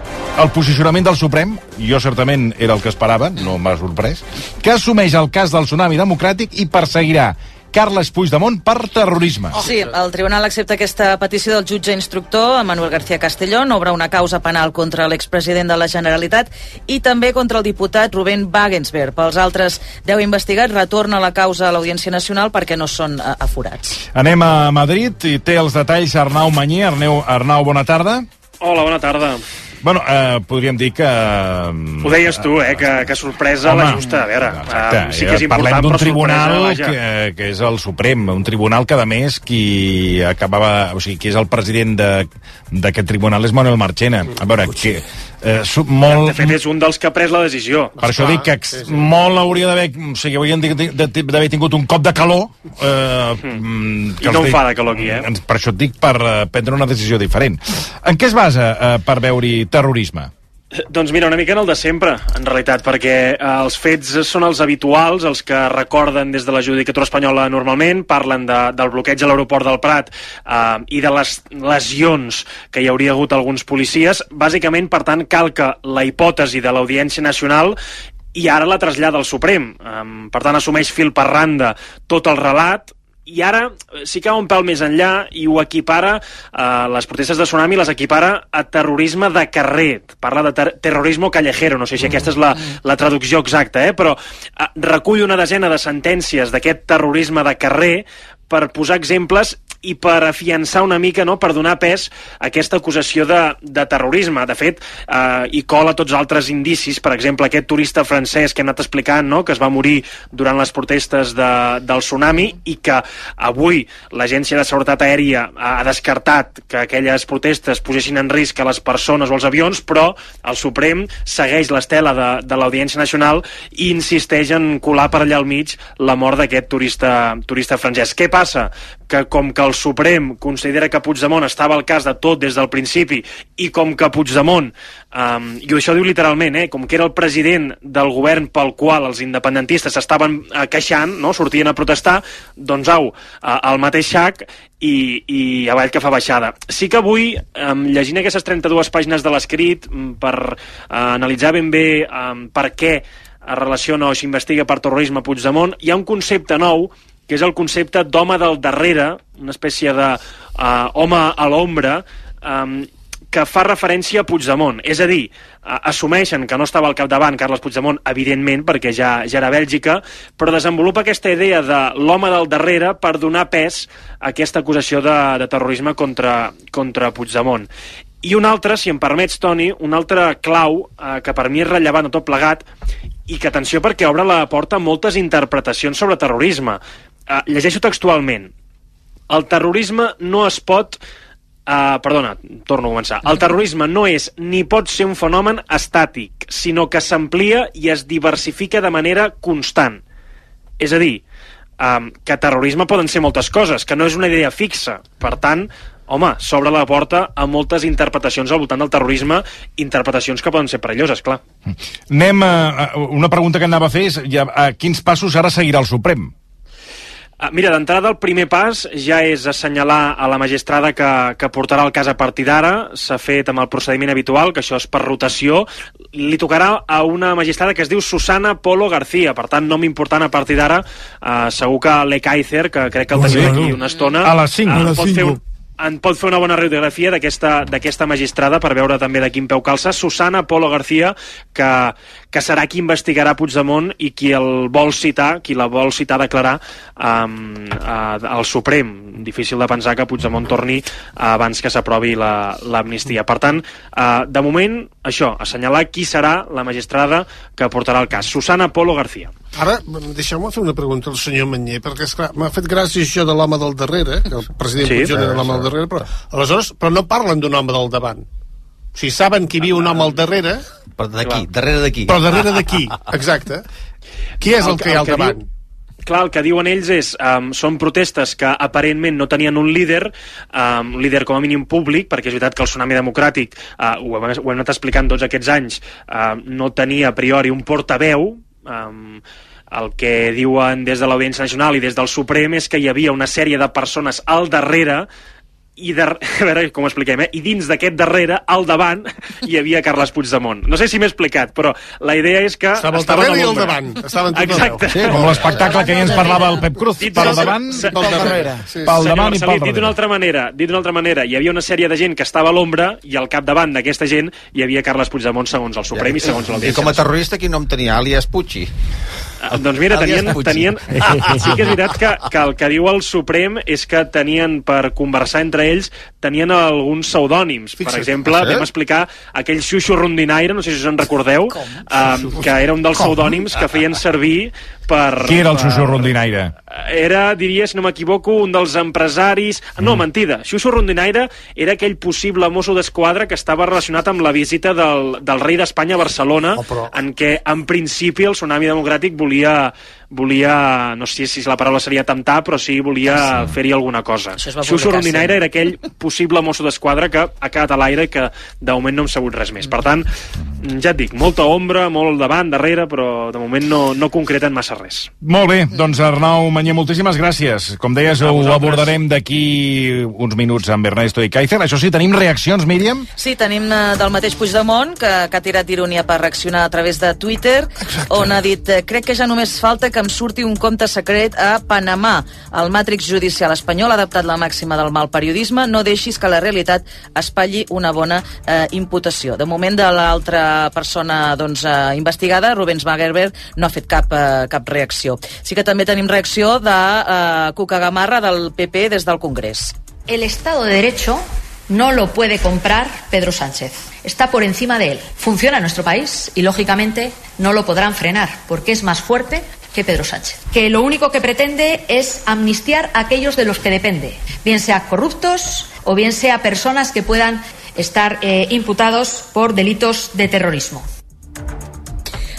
Speaker 5: el posicionament del Suprem, jo certament era el que esperava, no m'ha sorprès, que assumeix el cas del tsunami democràtic i perseguirà Carles Puigdemont per terrorisme.
Speaker 19: Sí, el tribunal accepta aquesta petició del jutge instructor, Manuel García Castellón, obre una causa penal contra l'expresident de la Generalitat i també contra el diputat Rubén Wagensberg. Pels altres 10 investigats retorna la causa a l'Audiència Nacional perquè no són eh, aforats.
Speaker 5: Anem a Madrid i té els detalls Arnau Manyé. Arnau, Arnau bona tarda. (laughs)
Speaker 22: Hola, bona tarda.
Speaker 5: Bueno, eh, podríem dir que... eh,
Speaker 22: Ho deies tu, eh, que, que sorpresa
Speaker 5: Home,
Speaker 22: la justa. A veure,
Speaker 5: Exacte, eh,
Speaker 22: um, sí que és important,
Speaker 5: Parlem d'un
Speaker 22: però
Speaker 5: tribunal
Speaker 22: sorpresa,
Speaker 5: que, que és el Suprem, un tribunal que, a més, qui acabava... O sigui, qui és el president de- d'aquest tribunal és Manuel Marchena. A
Speaker 22: Mm,
Speaker 5: veure, que, eh, su- molt...
Speaker 22: De fet, és un dels que ha pres la decisió.
Speaker 5: Per això dic que ex- molt hauria d'haver... O sigui, haurien de- de- de- d'haver tingut un cop de calor... Eh, mm,
Speaker 22: I no
Speaker 5: els
Speaker 22: en
Speaker 5: dic-
Speaker 22: fa de calor aquí, eh?
Speaker 5: ens- Per això et dic, per eh, prendre una decisió diferent. En què es basa eh, per veure-hi terrorisme?
Speaker 22: Doncs mira, una mica en el de sempre, en realitat, perquè eh, els fets són els habituals, els que recorden des de la judicatura espanyola normalment, parlen de, del bloqueig a l'aeroport del Prat eh, i de les lesions que hi hauria hagut a alguns policies. Bàsicament, per tant, calca la hipòtesi de l'Audiència Nacional i ara la trasllada al Suprem. Um, per tant, assumeix fil per randa tot el relat, i ara eh, sí que va un pèl més enllà i ho equipara, eh, les protestes de tsunami les equipara a terrorisme de carrer. Parla de ter terrorisme callejero, no sé si aquesta és la, la traducció exacta, eh? però eh, recull una desena de sentències d'aquest terrorisme de carrer per posar exemples i per afiançar una mica, no?, per donar pes a aquesta acusació de, de terrorisme. De fet, eh, hi cola tots altres indicis, per exemple, aquest turista francès que hem anat explicant, no?, que es va morir durant les protestes de, del tsunami i que avui l'Agència de Seguretat Aèria ha, ha descartat que aquelles protestes posessin en risc a les persones o els avions, però el Suprem segueix l'estela de, de l'Audiència Nacional i insisteix en colar per allà al mig la mort d'aquest turista, turista francès. Què passa? que com que el Suprem considera que Puigdemont estava al cas de tot des del principi i com que Puigdemont, um, i això ho diu literalment, eh, com que era el president del govern pel qual els independentistes s'estaven eh, queixant, no, sortien a protestar, doncs au, eh, el mateix xac i, i avall que fa baixada. Sí que avui, um, llegint aquestes 32 pàgines de l'escrit, mm, per uh, analitzar ben bé um, per què es relaciona o s'investiga per terrorisme Puigdemont, hi ha un concepte nou que és el concepte d'home del darrere, una espècie de uh, home a l'ombra, um, que fa referència a Puigdemont. És a dir, eh, assumeixen que no estava al capdavant Carles Puigdemont, evidentment, perquè ja, ja era a Bèlgica, però desenvolupa aquesta idea de l'home del darrere per donar pes a aquesta acusació de, de terrorisme contra, contra Puigdemont. I un altre, si em permets, Toni, un altre clau eh, que per mi és rellevant a tot plegat i que, atenció, perquè obre la porta a moltes interpretacions sobre terrorisme. Eh, llegeixo textualment. El terrorisme no es pot... Uh, perdona, torno a començar. El terrorisme no és ni pot ser un fenomen estàtic, sinó que s'amplia i es diversifica de manera constant. És a dir, um, que terrorisme poden ser moltes coses, que no és una idea fixa. Per tant, home, s'obre la porta a moltes interpretacions al voltant del terrorisme, interpretacions que poden ser perilloses, clar.
Speaker 5: Anem a, a- una pregunta que anava a fer és ja, a quins passos ara seguirà el Suprem?
Speaker 22: Ah, Mira, d'entrada el primer pas ja és assenyalar a la magistrada que, que portarà el cas a partir d'ara. S'ha fet amb el procediment habitual, que això és per rotació. Li tocarà a una magistrada que es diu Susana Polo García. Per tant, nom important a partir d'ara. Uh, segur que l'Ekaizer, que crec que el
Speaker 5: Bueno,
Speaker 22: tenim
Speaker 5: bueno.
Speaker 22: aquí una estona...
Speaker 5: A les cinc.
Speaker 22: eh,
Speaker 5: A les
Speaker 22: pot fer
Speaker 5: cinc.
Speaker 22: un, en pot fer una bona radiografia d'aquesta d'aquesta magistrada per veure també de quin peu calça. Susana Polo García, que, que serà qui investigarà Puigdemont i qui el vol citar, qui la vol citar a declarar um, a, al Suprem. Difícil de pensar que Puigdemont torni abans que s'aprovi la- l'amnistia. Per tant, uh, de moment, això, assenyalar qui serà la magistrada que portarà el cas. Susana Polo García.
Speaker 6: Ara, deixeu-me fer una pregunta al senyor Manyer, perquè, esclar, m'ha fet gràcia això de l'home del darrere, que el president
Speaker 22: Sí,
Speaker 6: sí, Puigdemont
Speaker 22: sí,
Speaker 6: era
Speaker 22: sí.
Speaker 6: l'home del darrere, però, aleshores, però no parlen d'un home del davant. O sigui, saben que hi havia un home al darrere...
Speaker 8: Però d'aquí, darrere d'aquí.
Speaker 6: Però darrere d'aquí, exacte. Qui és el, que hi ha al davant?
Speaker 22: Diu, clar, el que diuen ells és um, són protestes que aparentment no tenien un líder, um, líder com a mínim públic, perquè és veritat que el tsunami democràtic, uh, ho, hem, ho hem anat explicant tots aquests anys, uh, no tenia a priori un portaveu, um, el que diuen des de l'Audiència Nacional i des del Suprem és que hi havia una sèrie de persones al darrere i dar... (laughs) a veure com ho expliquem, eh? i dins d'aquest darrere, al davant, (laughs) hi havia Carles Puigdemont. No sé si m'he explicat, però la idea és que...
Speaker 6: Estava al darrere i al davant. Estaven tot
Speaker 22: Exacte.
Speaker 6: arreu. Sí, com
Speaker 5: l'espectacle que ahir ens parlava el Pep Cruz.
Speaker 22: Dit
Speaker 5: Pel
Speaker 22: d'una-
Speaker 5: davant,
Speaker 22: se-
Speaker 5: pel darrere.
Speaker 22: Sí, sí. Senyor
Speaker 5: Pel davant i
Speaker 22: Marcelí,
Speaker 5: pel
Speaker 22: Dit d'una
Speaker 5: darrere.
Speaker 22: altra manera, dit d'una altra manera, hi havia una sèrie de gent que estava a l'ombra i al capdavant d'aquesta gent hi havia Carles Puigdemont segons el Suprem i segons
Speaker 8: I
Speaker 22: l'Audiència.
Speaker 8: com a terrorista, quin nom tenia? Alias Pucci.
Speaker 22: Ah, Doncs mira,
Speaker 8: Alias
Speaker 22: tenien,
Speaker 8: Puig.
Speaker 22: tenien... ah, Sí que és veritat que, que el que diu el Suprem és que tenien, per conversar entre ells, tenien alguns pseudònims. Per
Speaker 6: Fixa't.
Speaker 22: exemple,
Speaker 6: Ah, sí?
Speaker 22: vam explicar aquell xuxo rondinaire, no sé si us en recordeu, eh, que era un dels
Speaker 5: Com?
Speaker 22: pseudònims que feien servir per...
Speaker 5: Qui era el
Speaker 22: per-
Speaker 5: xuxo rondinaire?
Speaker 22: Eh, era, diria, si no m'equivoco, un dels empresaris... No, mentida. Xuxo Rondinaire era aquell possible mosso d'esquadra que estava relacionat amb la visita del, del rei d'Espanya a Barcelona, oh, però... en què, en principi, el Tsunami Democràtic volia volia, no sé si la paraula seria temptar, però sí, volia sí. fer-hi alguna cosa.
Speaker 1: va
Speaker 22: Xuxo
Speaker 1: publicar,
Speaker 22: Rondinaire
Speaker 1: sí.
Speaker 22: era aquell possible mosso d'esquadra que ha quedat a l'aire i que de moment no hem sabut res més. Per tant, ja et dic, molta ombra, molt davant, darrere, però de moment no, no concreten massa res.
Speaker 5: Molt bé, doncs Arnau Manyer, moltíssimes gràcies. Com deies, ho
Speaker 22: vosaltres.
Speaker 5: abordarem d'aquí uns minuts amb Ernesto i Kaiser. Això sí, tenim reaccions, Míriam?
Speaker 19: Sí, tenim eh, del mateix Puigdemont, que, que ha tirat ironia per reaccionar a través de Twitter, Exacte. on ha dit eh, crec que ja només falta que em surti un compte secret a Panamà. El Màtrix judicial espanyol ha adaptat la màxima del mal periodisme. No deixis que la realitat espatlli una bona eh, imputació. De moment, de l'altra persona doncs, eh, investigada, Rubens Magerberg, no ha fet cap, eh, cap reacció. Sí que també tenim reacció de eh, Cuca Gamarra, del PP, des del Congrés.
Speaker 23: El Estado de Derecho no lo puede comprar Pedro Sánchez. Está por encima de él. Funciona en nuestro país y, lógicamente, no lo podrán frenar porque es más fuerte que Pedro Sánchez. Que lo único que pretende es amnistiar a aquellos de los que depende, bien sea corruptos o bien sea personas que puedan estar eh, imputados por delitos de terrorismo.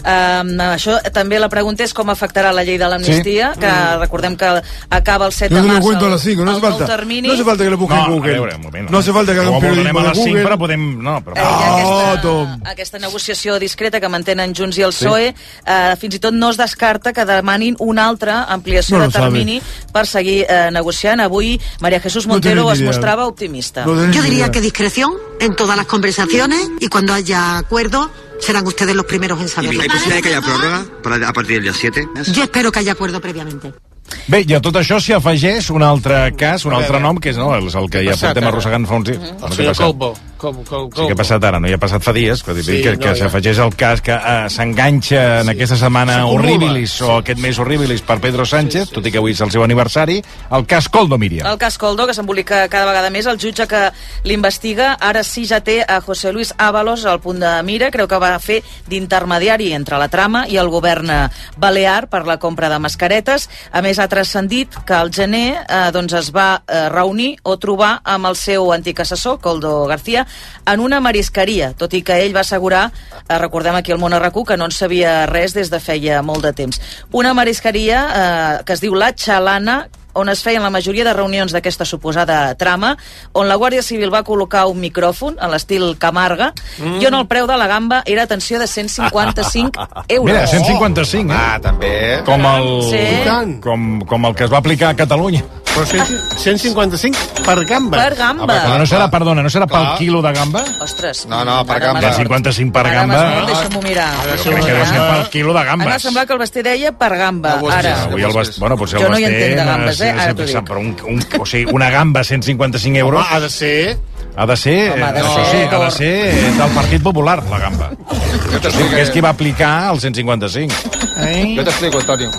Speaker 19: Um, això també la pregunta és com afectarà la llei de l'amnistia,
Speaker 5: Sí.
Speaker 19: que
Speaker 5: Mm.
Speaker 19: recordem que acaba el 7
Speaker 5: Yo
Speaker 19: de
Speaker 5: te lo
Speaker 19: març.
Speaker 5: cuento a
Speaker 19: el-
Speaker 5: las cinco, no
Speaker 19: el
Speaker 5: hace
Speaker 19: nou
Speaker 5: falta.
Speaker 19: termini.
Speaker 5: No hace falta que lo busquen en
Speaker 18: No, a
Speaker 5: Google.
Speaker 18: veure, un moment, no hace falta que
Speaker 5: Ho
Speaker 18: hagan un
Speaker 5: abordarem
Speaker 18: periodismo
Speaker 5: a
Speaker 18: de
Speaker 5: les 5,
Speaker 18: Google.
Speaker 5: però podem... No, però... Ah,
Speaker 18: Oh, Tom.
Speaker 19: Aquesta negociació discreta que mantenen Junts i el
Speaker 5: Sí.
Speaker 19: PSOE eh, fins i tot no es descarta que demanin una altra ampliació
Speaker 5: No
Speaker 19: de
Speaker 5: lo sabe.
Speaker 19: termini per seguir eh, negociant. Avui Maria Jesús
Speaker 5: No
Speaker 19: Montero
Speaker 5: tenéis
Speaker 19: es
Speaker 5: ni idea.
Speaker 19: mostrava optimista.
Speaker 24: Yo diría que discreción en todas las conversaciones y cuando haya acuerdo serán ustedes los primeros en saberlo.
Speaker 25: ¿Hay posibilidad de que haya prórroga para- a partir del día 7?
Speaker 24: Yo espero que haya acuerdo previamente.
Speaker 5: Bé, i a tot això s'hi afegeix un altre cas, un
Speaker 24: A
Speaker 5: altre
Speaker 24: veure.
Speaker 5: nom, que és no, és el que
Speaker 6: Què ha
Speaker 5: ja
Speaker 6: passat,
Speaker 5: portem
Speaker 6: ara? Mhm.
Speaker 5: arrossegant fa uns dies.
Speaker 6: El senyor Colbo. Com, com,
Speaker 5: Sí,
Speaker 6: com.
Speaker 5: que ha passat ara, no? Ja ha passat fa dies, que,
Speaker 6: Sí,
Speaker 5: sí, que, que
Speaker 6: no, ja.
Speaker 5: s'afegeix el cas que uh, s'enganxa en aquesta setmana
Speaker 6: S'acumula.
Speaker 5: horribilis, o aquest mes horribilis per Pedro Sánchez, tot i que avui és el seu aniversari, el cas Coldo, Míriam.
Speaker 19: El cas Coldo, que s'embolica cada vegada més, el jutge que l'investiga ara sí ja té a José Luis Ábalos al punt de mira, creu que va fer d'intermediari entre la trama i el govern eh, balear per la compra de mascaretes. A més, ha transcendit que al gener eh, doncs es va eh, reunir o trobar amb el seu antic assessor, Coldo García, en una marisqueria, tot i que ell va assegurar, eh, recordem aquí el món RQ, que no en sabia res des de feia molt de temps. Una marisqueria eh, que es diu La Xalana, on es feien la majoria de reunions d'aquesta suposada trama, on la Guàrdia Civil va col·locar un micròfon, a l'estil Camarga,
Speaker 8: Mm.
Speaker 19: mm. i on el preu de la gamba era, atenció,
Speaker 5: (laughs)
Speaker 19: de 155 euros. Oh.
Speaker 5: Mira, 155, eh? Ah,
Speaker 8: també.
Speaker 5: Com el,
Speaker 19: Sí. I tant.
Speaker 5: com, com el que es va aplicar a Catalunya.
Speaker 6: Però 155 per gamba.
Speaker 19: Per gamba.
Speaker 5: Ah, però no serà, perdona, no serà
Speaker 6: Clar.
Speaker 5: pel quilo de gamba?
Speaker 19: Ostres.
Speaker 5: No, no,
Speaker 19: per gamba.
Speaker 5: 155 per
Speaker 19: Ara
Speaker 5: gamba.
Speaker 19: m'has dit, Deixa-m'ho mirar.
Speaker 5: Jo crec que deu ser pel quilo de gambes.
Speaker 19: Ara sembla que el Basté deia per gamba.
Speaker 5: Ah,
Speaker 19: Ara.
Speaker 5: Avui el bast... Bueno, potser
Speaker 19: Jo
Speaker 5: el
Speaker 19: no hi
Speaker 5: Basté
Speaker 19: entenc de
Speaker 5: no
Speaker 19: gambes,
Speaker 5: sé,
Speaker 19: eh? Ara
Speaker 5: sempre
Speaker 19: t'ho dic.
Speaker 5: sap, Però un, un, o sigui, una gamba a 155 euros...
Speaker 6: Home, ha de ser...
Speaker 5: Ha de ser,
Speaker 6: Home, ha de
Speaker 5: això
Speaker 6: ser
Speaker 5: sí, ha de
Speaker 6: d'or.
Speaker 5: ser del Partit Popular, la gamba. Això sí, que és qui va aplicar el 155.
Speaker 8: Jo t'explico, Antonio.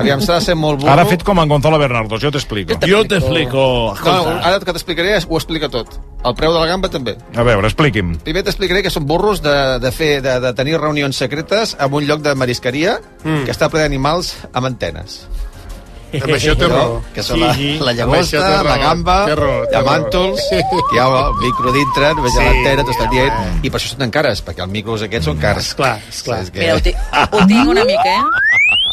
Speaker 8: Aviam, s'ha de ser molt burro.
Speaker 5: Ara ha fet com en Gonzalo Bernardo, jo t'explico.
Speaker 8: No, ara que t'explicaré ho explica tot. El preu de la gamba també.
Speaker 5: A veure, expliqui'm.
Speaker 8: Primer t'explicaré que són burros de, de, fer, de, de tenir reunions secretes en un lloc de marisqueria
Speaker 5: Mm.
Speaker 8: mm. que està ple d'animals amb antenes.
Speaker 6: Amb això té
Speaker 8: Allò
Speaker 6: raó.
Speaker 8: Que són
Speaker 6: Sí,
Speaker 8: la,
Speaker 6: sí. Amb
Speaker 8: la
Speaker 6: això
Speaker 8: llagosta,
Speaker 6: té raó,
Speaker 8: la gamba,
Speaker 6: té raó, té
Speaker 8: la
Speaker 6: raó.
Speaker 8: màntols, que hi ha el micro dintre, només sí,
Speaker 6: Sí,
Speaker 8: l'antena, tot el dient, i per això són tan cares, perquè els micros aquests són cars. Esclar, esclar. Que...
Speaker 19: Mira, ho tinc, ho tinc una mica,
Speaker 5: (laughs)
Speaker 19: eh?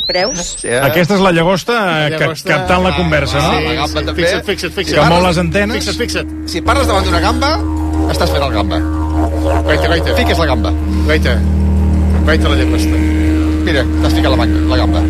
Speaker 19: Preus?
Speaker 5: Aquesta és la llagosta, eh, que,
Speaker 8: Llagosta.
Speaker 5: captant la conversa,
Speaker 8: Ah,
Speaker 5: no?
Speaker 8: la gamba també.
Speaker 6: Fixa't, fixa't, fixa't.
Speaker 5: Que mou les antenes.
Speaker 6: Fixa't, fixa't.
Speaker 8: Si parles davant d'una gamba, estàs fent el gamba.
Speaker 6: Guaita, guaita.
Speaker 8: Fiques la gamba.
Speaker 6: Guaita. Guaita la llagosta.
Speaker 8: Mira, t'has ficat la, banca, la gamba.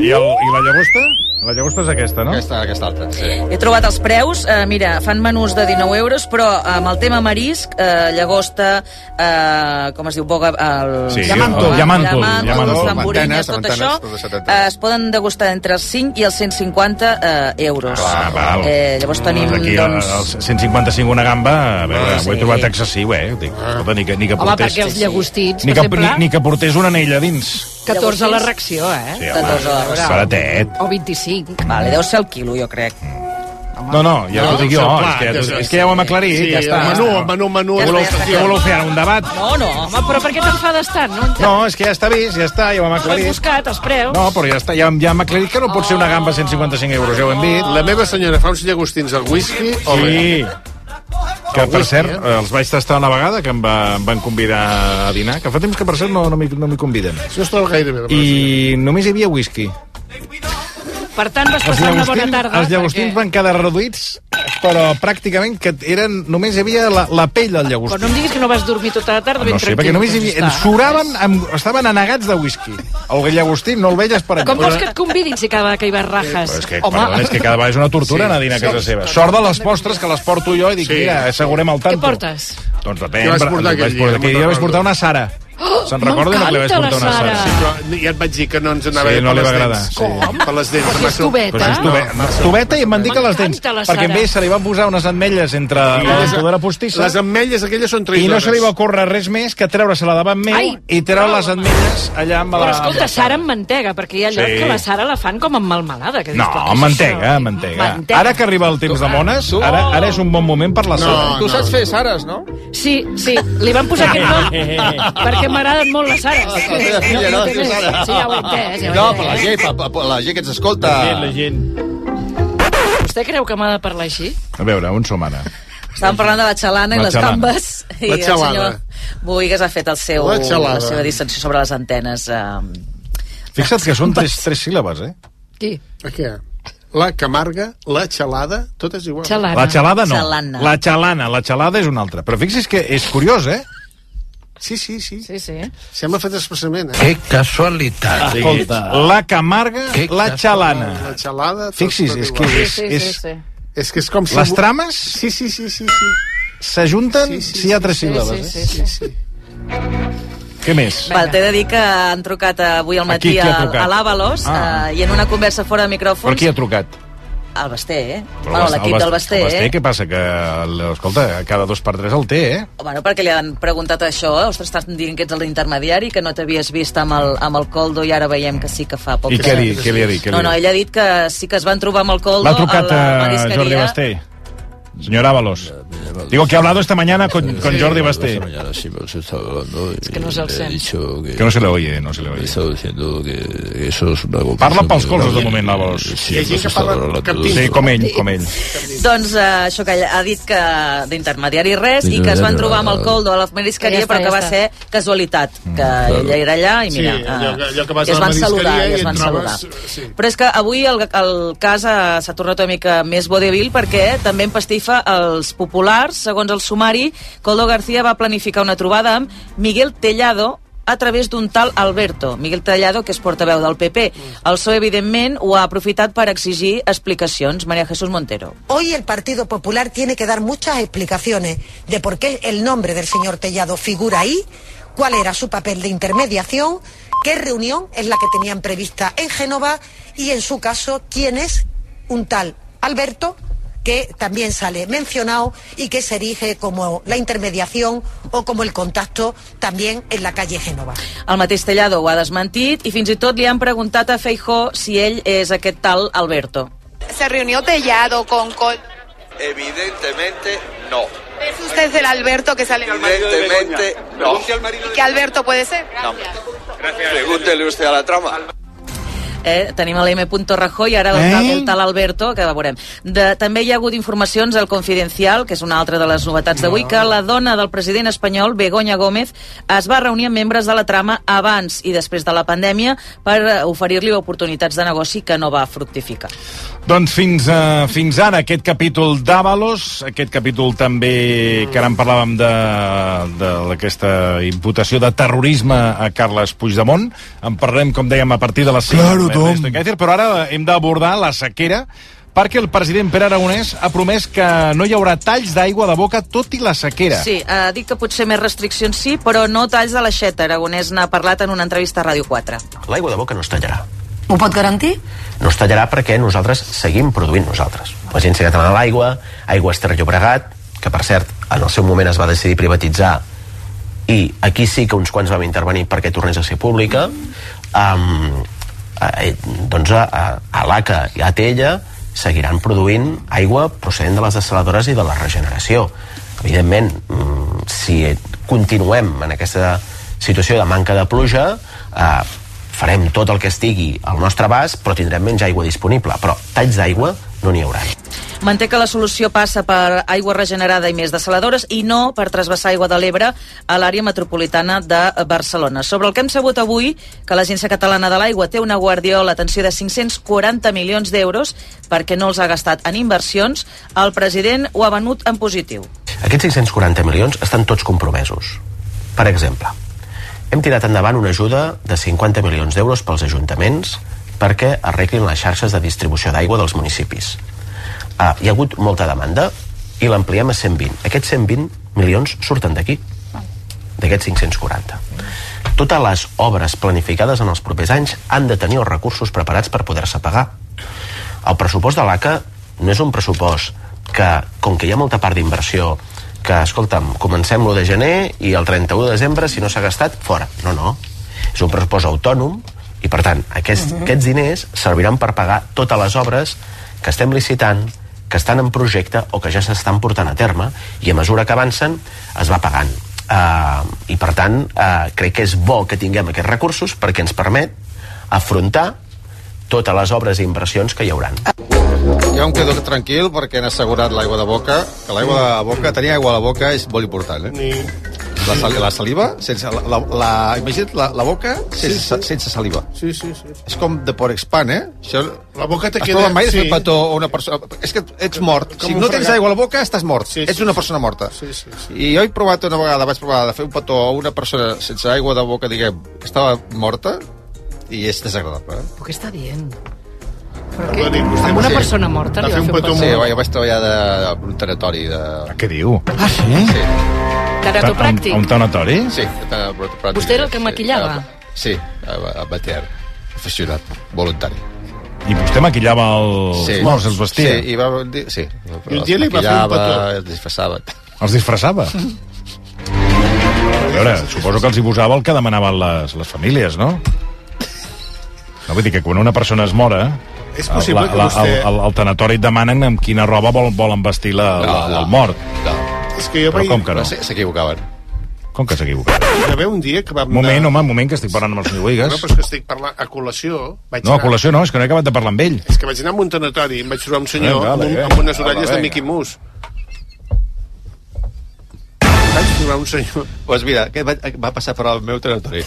Speaker 5: I, el, I la llagosta? La llagosta és aquesta, no?
Speaker 8: Aquesta, aquesta altra, sí.
Speaker 19: He trobat els preus, eh, mira, fan menús de 19 euros, però amb el tema marisc, eh, llagosta, eh, com es diu, boga... El...
Speaker 5: Sí, Llamàntol. el llamàntol,
Speaker 19: llamàntol,
Speaker 5: llamàntol.
Speaker 19: zamborines,
Speaker 5: Antenes,
Speaker 19: tot
Speaker 5: antenes,
Speaker 19: això,
Speaker 5: tot això,
Speaker 19: eh, es poden degustar entre els 5 i els 150 eh, euros.
Speaker 5: Ah, val.
Speaker 19: eh, llavors tenim,
Speaker 5: Aquí,
Speaker 19: doncs...
Speaker 5: doncs... 155 una gamba, a veure,
Speaker 19: Ah,
Speaker 5: ho he
Speaker 19: sí.
Speaker 5: trobat excessiu, eh? Dic, escolta, ni que, ni que
Speaker 4: Ah. Home,
Speaker 5: portés...
Speaker 4: perquè els llagostins,
Speaker 5: ni que,
Speaker 4: per
Speaker 5: ni,
Speaker 4: exemple,
Speaker 5: ni que portés una anella dins.
Speaker 4: 14 a la reacció, eh?
Speaker 5: Sí, home, baratet.
Speaker 4: O 25.
Speaker 19: Vale, deu ser el quilo, jo crec.
Speaker 5: No, no, ja
Speaker 6: No,
Speaker 5: t'ho dic jo,
Speaker 6: clar,
Speaker 5: és que, ja t'ho-
Speaker 6: que-
Speaker 5: és que ja ho hem aclarit,
Speaker 6: Sí,
Speaker 5: ja està.
Speaker 6: el menú, el menú, el menú.
Speaker 5: Què voleu, què voleu fer ara, un debat?
Speaker 19: No, no.
Speaker 4: Home, però per què t'enfades tant? No,
Speaker 5: No, és que ja està vist, ja està, ja ho hem
Speaker 4: no l'he
Speaker 5: aclarit.
Speaker 4: buscat, els preus.
Speaker 5: No, però ja està, ja, ja hem aclarit que no pot ser una gamba a 155 euros, ja ho hem dit.
Speaker 6: La meva senyora fa uns llagostins al whisky.
Speaker 5: Sí. Que, per
Speaker 6: whisky,
Speaker 5: cert, eh, els vaig tastar una vegada, que em, va, em van convidar a dinar, que fa temps que, per cert, no, no m'hi no m'hi conviden.
Speaker 6: No es troba gaire bé.
Speaker 5: I només hi havia whisky.
Speaker 4: Per tant, vas passar una bona tarda.
Speaker 5: els llagostins van quedar reduïts, però pràcticament que eren, només hi havia la, la pell del
Speaker 4: Però
Speaker 5: llagostí.
Speaker 4: no em diguis que no vas dormir tota la tarda ben
Speaker 5: No sé, perquè
Speaker 4: tranquil,
Speaker 5: només hi
Speaker 4: doncs
Speaker 5: havia...
Speaker 4: està.
Speaker 5: Suraven, amb, estaven anegats de whisky. El llagostí no el veies per
Speaker 4: Com vols que et convidin si cada vegada que hi vas rajes?
Speaker 5: Però és que, perdona, és que cada vegada és una tortura
Speaker 4: Sí,
Speaker 5: anar a dinar a casa
Speaker 4: sí.
Speaker 5: seva. Sort de les postres que les porto jo i dic,
Speaker 4: Sí.
Speaker 5: mira, assegurem el
Speaker 4: Què
Speaker 5: tanto.
Speaker 4: portes?
Speaker 5: Doncs depèn.
Speaker 6: Què vas
Speaker 5: però-
Speaker 6: portar aquell
Speaker 5: vaig
Speaker 6: dia?
Speaker 5: portar-
Speaker 6: No me'n
Speaker 5: Aquell dia vaig
Speaker 6: recordo.
Speaker 5: portar una Sara. Se'n recorda no que li vaig portar una Sara?
Speaker 6: Sí, però ja et vaig dir que no ens anava
Speaker 5: Sí,
Speaker 6: bé
Speaker 5: no li
Speaker 6: per
Speaker 5: va
Speaker 6: les
Speaker 5: agradar, Ah.
Speaker 6: dents.
Speaker 5: sí. Com?
Speaker 6: Per les dents.
Speaker 5: Però si és tubeta. Però si és tubeta. Tubeta i em van dir que les dents,
Speaker 6: M'encanta la
Speaker 5: perquè en
Speaker 6: Sara.
Speaker 5: ve se li van posar unes ametlles entre
Speaker 6: Sí.
Speaker 5: la dentadura postissa.
Speaker 6: Les ametlles aquelles són
Speaker 5: I
Speaker 6: traïdores.
Speaker 5: no se li va ocórrer res més que treure-se-la davant meu
Speaker 4: Ai,
Speaker 5: i treure les ametlles allà amb la...
Speaker 4: Però escolta, Sara amb mantega, perquè hi ha lloc
Speaker 5: Ah, Sí.
Speaker 4: que la Sara la fan com amb melmelada. Que dius,
Speaker 5: No,
Speaker 4: però què
Speaker 5: amb
Speaker 4: és
Speaker 5: mantega,
Speaker 4: això?
Speaker 5: amb mantega.
Speaker 4: Mantega.
Speaker 5: Ara que arriba el temps de mones, ara, ara és un bon moment per la
Speaker 8: No,
Speaker 5: Sara.
Speaker 8: tu saps fer Sares, no?
Speaker 4: Sí, sí, li van posar
Speaker 8: (laughs)
Speaker 4: aquest nom perquè m'agraden molt les Sares.
Speaker 8: Ah, La teva filla, no? Es diu Sara.
Speaker 4: Sí, ja ho he entès. Ja ho he
Speaker 8: No,
Speaker 4: entès.
Speaker 8: per la gent, per, per la gent que ens escolta.
Speaker 5: La gent.
Speaker 4: Vostè creu que m'ha de parlar així?
Speaker 5: A veure, on som ara?
Speaker 19: Estàvem parlant de la xalana
Speaker 5: La
Speaker 19: i les
Speaker 5: xalana.
Speaker 19: gambes. I
Speaker 5: La
Speaker 19: el
Speaker 5: xalana.
Speaker 19: senyor Boigues ha fet el seu,
Speaker 5: La
Speaker 19: la,
Speaker 5: xalana.
Speaker 19: seva dissensió sobre les antenes. Eh,
Speaker 5: Fixa't que són tres, tres síl·labes, eh?
Speaker 4: Qui?
Speaker 6: A què? La Camarga, la Xalada, tot és igual.
Speaker 5: La xalada no. La xalana, la xalada és una altra. Però fixi's que és curiós, eh?
Speaker 6: Sí, sí, sí.
Speaker 4: Sí, sí.
Speaker 6: Sembla fet expressament, eh?
Speaker 5: Que casualitat. Ah, Escolta, la Camarga, la xalana.
Speaker 6: La xalada... tot-
Speaker 5: Fixi's,
Speaker 6: tot
Speaker 5: és
Speaker 6: igual.
Speaker 5: que és- Sí, sí, és- sí,
Speaker 6: És que és com si...
Speaker 5: Les trames?
Speaker 6: Sí, sí, sí, sí. sí.
Speaker 5: S'ajunten
Speaker 6: Sí, sí,
Speaker 5: si hi ha tres
Speaker 6: sí,
Speaker 5: síl·labes,
Speaker 6: sí,
Speaker 5: eh?
Speaker 6: sí, sí, sí.
Speaker 5: Què més?
Speaker 19: Val, t'he de dir que han trucat avui al matí
Speaker 5: Aquí, qui ha
Speaker 19: a,
Speaker 5: trucat?
Speaker 19: a l'Avalos
Speaker 5: Ah.
Speaker 19: eh, i en una conversa fora de
Speaker 5: Per
Speaker 19: micròfons
Speaker 5: qui ha trucat?
Speaker 19: el Basté, eh?
Speaker 5: Però
Speaker 19: Bueno,
Speaker 5: el Bast-
Speaker 19: l'equip
Speaker 5: el Bast-
Speaker 19: del Basté,
Speaker 5: El
Speaker 19: eh?
Speaker 5: Basté, què passa? Que, l- escolta, cada dos per tres el té, eh?
Speaker 19: Bueno, perquè li han preguntat això, eh? ostres, estan dient que ets l'intermediari, que no t'havies vist amb el, amb el Coldo i ara veiem que sí que fa poc.
Speaker 5: I
Speaker 19: que
Speaker 5: què
Speaker 19: s'ha
Speaker 5: li-
Speaker 19: vist.
Speaker 5: què li ha dit, què li
Speaker 19: No,
Speaker 5: ha
Speaker 19: no,
Speaker 5: dit?
Speaker 19: ell ha dit que sí que es van trobar amb el Coldo
Speaker 5: L'ha trucat
Speaker 19: a la
Speaker 5: a
Speaker 19: marisqueria.
Speaker 5: Jordi Basté. Senyor Avalos. Digo que ha hablado esta mañana con, con Jordi Basté.
Speaker 1: Mañana sí, pero se estaba hablando. Es
Speaker 4: que no se alcen.
Speaker 1: dicho que,
Speaker 5: Que no se le oye, no se le oye.
Speaker 1: He estado diciendo que eso es una
Speaker 5: Parla pels colzes, de moment, la voz.
Speaker 1: Sí, no s'està parlant tot.
Speaker 5: Sí, com ell, com ell.
Speaker 19: Doncs eh, això que ha dit que d'intermediari res i que es van trobar amb el Coldo a la
Speaker 4: Ja
Speaker 19: merisqueria
Speaker 4: està,
Speaker 19: però que
Speaker 4: ja
Speaker 19: va
Speaker 4: està.
Speaker 19: ser casualitat, que ella era allà i mira,
Speaker 6: Sí, allò,
Speaker 19: eh,
Speaker 6: allò que vas
Speaker 19: i
Speaker 6: a
Speaker 19: es
Speaker 6: la
Speaker 19: van saludar,
Speaker 6: marisqueria
Speaker 19: i es
Speaker 6: et
Speaker 19: van saludar.
Speaker 6: trobes- Sí.
Speaker 19: Però és que avui el, el cas eh, s'ha tornat una mica més vodevil perquè també empastifa els populars. Segons el sumari, Coldo García va planificar una trobada amb Miguel Tellado a través d'un tal Alberto, Miguel Tellado, que és portaveu del PP.
Speaker 6: Mm.
Speaker 19: El PSOE, evidentment, ho ha aprofitat per exigir explicacions. María Jesús Montero.
Speaker 24: Hoy el Partido Popular tiene que dar muchas explicaciones de por qué el nombre del señor Tellado figura ahí, cuál era su papel de intermediación, qué reunión es la que tenían prevista en Génova y, en su caso, quién es un tal Alberto, que también sale mencionado y que se erige como la intermediación o como el contacto también en la calle Génova.
Speaker 19: El mateix Tellado ho ha desmentit i fins i tot li han preguntat a Feijó si ell és aquest tal Alberto.
Speaker 3: ¿Se reunió Tellado con Col?
Speaker 25: Evidentemente no.
Speaker 3: ¿Es usted el Alberto que sale en el
Speaker 25: Evidentemente no.
Speaker 3: ¿Y qué Alberto puede ser?
Speaker 25: no. Pregúntele usted a la trama.
Speaker 19: Eh, tenim a l'M. Rajoy, ara el,
Speaker 25: Eh?
Speaker 19: tal, el tal Alberto, que veurem. De, també hi ha hagut informacions al Confidencial, que és una altra de les novetats d'avui, que la dona del president espanyol, Begoña Gómez, es va reunir amb membres de la trama abans i després de la pandèmia per eh, oferir-li oportunitats de negoci que no va fructificar.
Speaker 5: Doncs fins, uh, fins ara aquest capítol d'Avalos, aquest capítol també que ara en parlàvem de, de d'aquesta imputació de terrorisme a Carles Puigdemont. En parlem, com dèiem, a partir de les 5.
Speaker 18: Claro, Tom.
Speaker 5: Però ara hem d'abordar la sequera perquè el president Pere Aragonès ha promès que no hi haurà talls d'aigua de boca tot i la sequera.
Speaker 19: Sí, eh, dic que potser més restriccions sí, però no talls de l'aixeta. Aragonès n'ha parlat en una entrevista a Ràdio 4.
Speaker 9: L'aigua de boca no es tallarà.
Speaker 19: Ho pot garantir?
Speaker 9: No es tallarà perquè nosaltres seguim produint nosaltres. L'Agència Catalana de l'Aigua, Aigües Ter Llobregat, que per cert, en el seu moment es va decidir privatitzar i aquí sí que uns quants vam intervenir perquè tornés a ser pública, um, eh, doncs a, a, a l'ACA i a ATL seguiran produint aigua procedent de les dessaladores i de la regeneració. Evidentment, mm, si continuem en aquesta situació de manca de pluja, eh, farem tot el que estigui al nostre abast, però tindrem menys aigua disponible. Però talls d'aigua no n'hi haurà.
Speaker 19: Manté que la solució passa per aigua regenerada i més dessaladores i no per trasbassar aigua de l'Ebre a l'àrea metropolitana de Barcelona. Sobre el que hem sabut avui, que l'Agència Catalana de l'Aigua té una guardiola, atenció, de 540 milions d'euros perquè no els ha gastat en inversions, el president ho ha venut en positiu.
Speaker 9: Aquests 640 milions estan tots compromesos. Per exemple, hem tirat endavant una ajuda de 50 milions d'euros pels ajuntaments perquè arreglin les xarxes de distribució d'aigua dels municipis. Ah, hi ha hagut molta demanda i l'ampliem a 120. Aquests 120 milions surten d'aquí, d'aquests 540. Totes les obres planificades en els propers anys han de tenir els recursos preparats per poder-se pagar. El pressupost de l'ACA no és un pressupost que, com que hi ha molta part d'inversió, que, escolta'm, comencem l'1 de gener i el 31 de desembre, si no s'ha gastat, fora. No, no. És un pressupost autònom i, per tant, aquests,
Speaker 26: Mhm.
Speaker 9: aquests diners serviran per pagar totes les obres que estem licitant, que estan en projecte o que ja s'estan portant a terme i a mesura que avancen es va pagant. Uh, I, per tant, uh, crec que és bo que tinguem aquests recursos perquè ens permet afrontar totes les obres i inversions que hi hauran.
Speaker 8: Jo em quedo tranquil perquè han assegurat l'aigua de boca, que l'aigua de boca, tenir aigua a la boca és molt important, eh? La, sal, la saliva, sense... La, la, la, imagina't la, la boca sense, sí, sí. sense saliva.
Speaker 6: Sí, sí, sí.
Speaker 8: És com de por expand, eh? Això,
Speaker 6: La boca te
Speaker 8: es
Speaker 6: queda...
Speaker 8: troba mai sí. petó o una persona... És que ets mort.
Speaker 6: Com
Speaker 8: si
Speaker 6: un
Speaker 8: no tens
Speaker 6: fregat.
Speaker 8: aigua a la boca, estàs mort.
Speaker 6: Sí,
Speaker 8: Sí,
Speaker 6: sí,
Speaker 8: ets una
Speaker 6: sí.
Speaker 8: persona morta.
Speaker 6: Sí, sí, sí.
Speaker 8: I jo he provat una vegada, vaig provar de fer un petó a una persona sense aigua de boca, diguem, que estava morta, i és desagradable. Eh?
Speaker 4: Què està dient?
Speaker 8: Perdoni,
Speaker 4: Amb una persona morta li va fer un petó.
Speaker 8: Sí, jo vaig treballar de, en un tanatori de...
Speaker 5: Què diu? Ah, sí?
Speaker 8: Sí.
Speaker 4: Teratopràctic.
Speaker 5: A un tanatori?
Speaker 8: Sí. de-
Speaker 4: Vostè era el que maquillava?
Speaker 8: Sí, a, a Bater, aficionat, voluntari.
Speaker 5: I vostè maquillava Oh, els sí. morts, els vestia?
Speaker 8: Sí, i va dir... Sí.
Speaker 5: I un dia li va fer un petó.
Speaker 8: Els disfressava.
Speaker 5: Els disfressava? A veure, suposo que els hi posava el que demanaven les, les famílies, no? No, vull dir que quan una persona es mora,
Speaker 6: És possible que
Speaker 5: El,
Speaker 6: vostè-
Speaker 5: el, el tanatori et demanen amb quina roba vol, volen vestir la, la,
Speaker 6: No, no.
Speaker 5: el mort.
Speaker 6: És que jo
Speaker 5: Però com que no?
Speaker 6: S'equivocaven.
Speaker 5: Com que s'equivoca?
Speaker 6: Hi va haver un dia que vam
Speaker 5: Un moment, home, un moment, que estic parlant amb el senyor
Speaker 6: No,
Speaker 5: Boigas.
Speaker 6: però és que estic parlant a col·lació. Vaig
Speaker 5: No, a
Speaker 6: anar-
Speaker 5: col·lació no, és que no he acabat de parlar amb ell.
Speaker 6: És que vaig anar a un tanatori i em vaig trobar un senyor
Speaker 5: Vinga,
Speaker 6: amb, un,
Speaker 5: vinga,
Speaker 6: amb unes
Speaker 5: vinga,
Speaker 6: orelles de
Speaker 5: vinga.
Speaker 6: Mickey Mouse. Vaig trobar un senyor...
Speaker 8: Doncs mira, aquest va, va passar per al meu territori.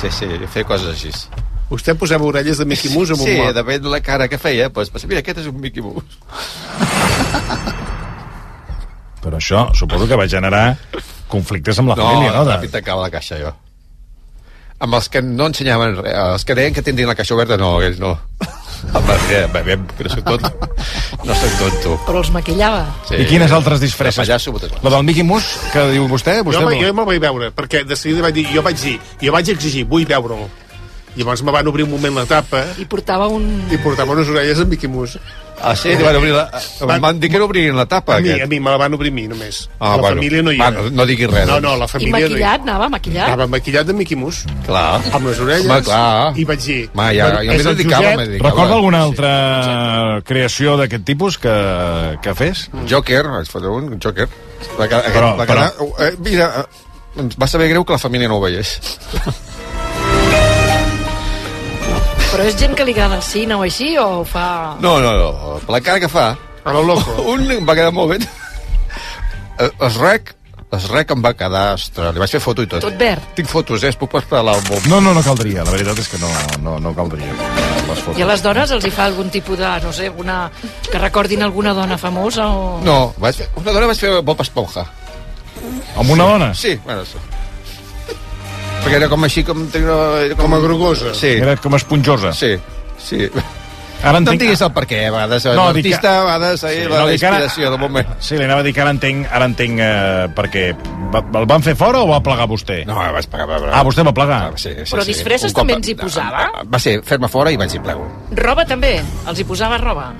Speaker 8: Sí, sí, fer coses així.
Speaker 6: Vostè posava orelles de Mickey Mouse amb
Speaker 8: sí,
Speaker 6: un mort.
Speaker 8: depèn de la cara que feia, doncs, pues, mira, aquest és un Mickey Mouse.
Speaker 5: Però això suposo que va generar conflictes amb la família, no?
Speaker 8: no,
Speaker 5: De...
Speaker 8: ràpid tancava la caixa, jo. Amb els que no ensenyaven res, els que deien que tindrien la caixa oberta, no, ells
Speaker 5: (laughs)
Speaker 8: no. Home, mira, bevem, que no soc tonto. No soc tonto.
Speaker 4: Però els maquillava.
Speaker 8: Sí.
Speaker 5: I quines altres disfresses?
Speaker 8: De pallasso, botes.
Speaker 5: La del Mickey Mouse, que diu vostè? vostè
Speaker 6: jo, va- jo me'l vaig veure, perquè de seguida vaig dir, jo vaig dir, jo vaig exigir, vull veure'l. Llavors me van obrir un moment la tapa
Speaker 4: I portava un...
Speaker 6: i portava unes orelles de Mickey Mouse. Eh,
Speaker 8: Ah, sí? Te van obrir la... Van, van dir que no obrien la tapa,
Speaker 6: A mi,
Speaker 8: aquest.
Speaker 6: a mi me la van obrir a mi, només.
Speaker 8: Ah,
Speaker 6: la
Speaker 8: bueno.
Speaker 6: família no hi era.
Speaker 8: Va, no diguis res,
Speaker 6: No,
Speaker 8: doncs.
Speaker 6: no, la
Speaker 4: I
Speaker 6: família no hi era.
Speaker 4: maquillat, anava maquillat.
Speaker 6: Anava maquillat de Mickey Mouse.
Speaker 8: Clar.
Speaker 6: Amb les orelles.
Speaker 8: Home, clar.
Speaker 6: I vaig dir...
Speaker 8: Ma, ja, jo
Speaker 6: és
Speaker 8: m'hi
Speaker 6: el
Speaker 8: dedicava,
Speaker 6: Josep-
Speaker 8: m'hi dedicava.
Speaker 5: Recorda alguna altra creació d'aquest tipus que, que fes?
Speaker 8: Joker, vaig fotre un, un Joker. Va, quedar,
Speaker 5: Però-
Speaker 8: però, va
Speaker 5: però-
Speaker 8: quedar, eh, mira, eh, ens va saber greu que la família no ho veiés.
Speaker 4: Però és gent que li agrada el cine o així, o fa...
Speaker 8: No, no, no, per la cara que fa.
Speaker 6: A lo loco.
Speaker 8: (laughs) Un em va quedar molt bé. Eh, Es rec, es rec em va quedar, ostres, li vaig fer foto i tot.
Speaker 4: Tot verd.
Speaker 8: Tinc fotos, eh, es puc posar l'àlbum.
Speaker 5: No, no, no caldria. La veritat és que no, no, no caldria. Les
Speaker 4: I a les dones els hi fa algun tipus de, no sé, alguna... que recordin alguna dona famosa o...
Speaker 8: No, vaig fer, una dona vaig fer Bob Esponja.
Speaker 5: Amb una dona?
Speaker 8: Sí, bueno, sí. Perquè era com així, com... tenia Una, era com,
Speaker 6: a grogosa.
Speaker 8: Sí.
Speaker 5: Era com esponjosa.
Speaker 8: Sí, sí.
Speaker 5: Ara
Speaker 8: no
Speaker 5: entenc-
Speaker 8: em diguis el per què, a vegades
Speaker 5: No,
Speaker 8: no,
Speaker 5: dic que-
Speaker 8: l'artista, a vegades eh,
Speaker 5: Sí,
Speaker 8: la
Speaker 5: no, dic ara-
Speaker 8: inspiració del moment.
Speaker 5: Sí, li anava a dir que ara entenc, ara entenc eh, perquè va, el van fer fora o va plegar vostè?
Speaker 8: No, vaig pagar. Va,
Speaker 5: Ah, vostè va plegar?
Speaker 8: sí, sí,
Speaker 4: Però
Speaker 8: sí.
Speaker 4: disfresses
Speaker 8: Un cop
Speaker 4: també
Speaker 8: a-
Speaker 4: ens hi posava?
Speaker 8: Va ser fer-me fora i vaig dir plego.
Speaker 4: Roba també? Els hi posava roba?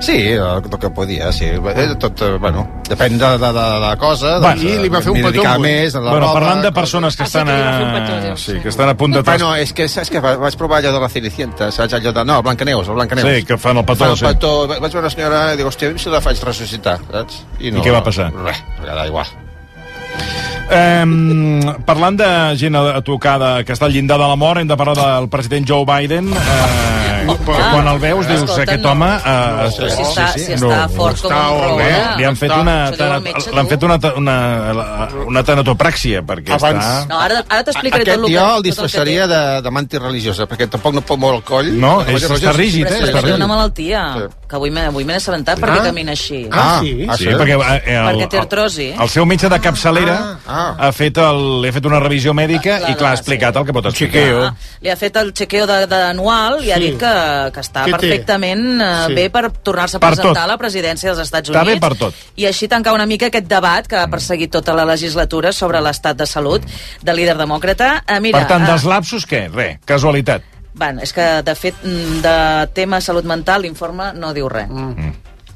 Speaker 8: Sí, el, el que podia, sí. Eh, Tot, eh, bueno, depèn de, de, de la cosa.
Speaker 5: Va.
Speaker 8: doncs, eh, m'hi dedicava Més, a la
Speaker 5: bueno,
Speaker 8: roba,
Speaker 5: parlant de persones
Speaker 4: Ah,
Speaker 5: que estan, a... sí, que estan a punt de...
Speaker 8: Bueno, és que saps que va- vaig provar allò de la Cenicienta, saps allò de... No, Blancaneus, el Blancaneus.
Speaker 5: Sí, que fan el petó,
Speaker 8: Fan el
Speaker 5: sí.
Speaker 8: petó. Va- Vaig veure una senyora i dic, hòstia, si la faig ressuscitar, saps?
Speaker 5: I què va passar?
Speaker 8: Res, era igual.
Speaker 5: Um, parlant de gent a a tocar de, que està al llindar de la mort, hem de parlar del president Joe Biden. Eh, que quan el veus dius,
Speaker 19: Escolta,
Speaker 5: aquest
Speaker 19: no.
Speaker 5: home... Eh,
Speaker 19: No, si està- si està fort com un
Speaker 5: Està
Speaker 19: roure.
Speaker 5: bé. Li han fet
Speaker 19: Està-
Speaker 5: una,
Speaker 19: Això diu el metge,
Speaker 5: l'han
Speaker 19: tu.
Speaker 5: fet una, ta- una, una tanatopràxia, perquè
Speaker 8: Abans-
Speaker 5: està...
Speaker 19: No, ara, ara t'explicaré
Speaker 8: Aquest
Speaker 19: tot, el que-
Speaker 8: jo
Speaker 19: tot
Speaker 8: el disfressaria de, de manti religiosa, perquè tampoc no pot moure el coll.
Speaker 5: No,
Speaker 8: De
Speaker 5: és-
Speaker 8: manti
Speaker 5: està
Speaker 8: religiosa.
Speaker 5: rígid, eh?
Speaker 8: Sí,
Speaker 5: Està
Speaker 8: sí.
Speaker 5: rígid.
Speaker 19: Una malaltia, que avui m'he avui m'he assabentat perquè
Speaker 8: Ah.
Speaker 19: camina així.
Speaker 8: Ah,
Speaker 5: Ah, sí, perquè, eh, el,
Speaker 19: Perquè té artrosi.
Speaker 5: El, el seu metge de capçalera
Speaker 19: Ah,
Speaker 5: ha fet el, li ha fet una revisió mèdica i, clar, ha explicat el que pot explicar.
Speaker 19: Ah, li ha fet el chequeo de- d'anual i ha
Speaker 5: Sí.
Speaker 19: dit que, que està
Speaker 5: Què té?
Speaker 19: perfectament eh,
Speaker 5: Sí.
Speaker 19: bé per tornar-se a
Speaker 5: Per
Speaker 19: presentar
Speaker 5: tot.
Speaker 19: a la presidència dels Estats Units.
Speaker 5: Està bé per tot.
Speaker 19: I així tancar una mica aquest debat que ha perseguit tota la legislatura sobre l'estat de salut del líder demòcrata. Eh, mira,
Speaker 5: per tant,
Speaker 19: eh,
Speaker 5: dels lapsos, què? Re, casualitat.
Speaker 19: Bueno, és que, de fet, mm, de tema salut mental, l'informe no diu res. Mm.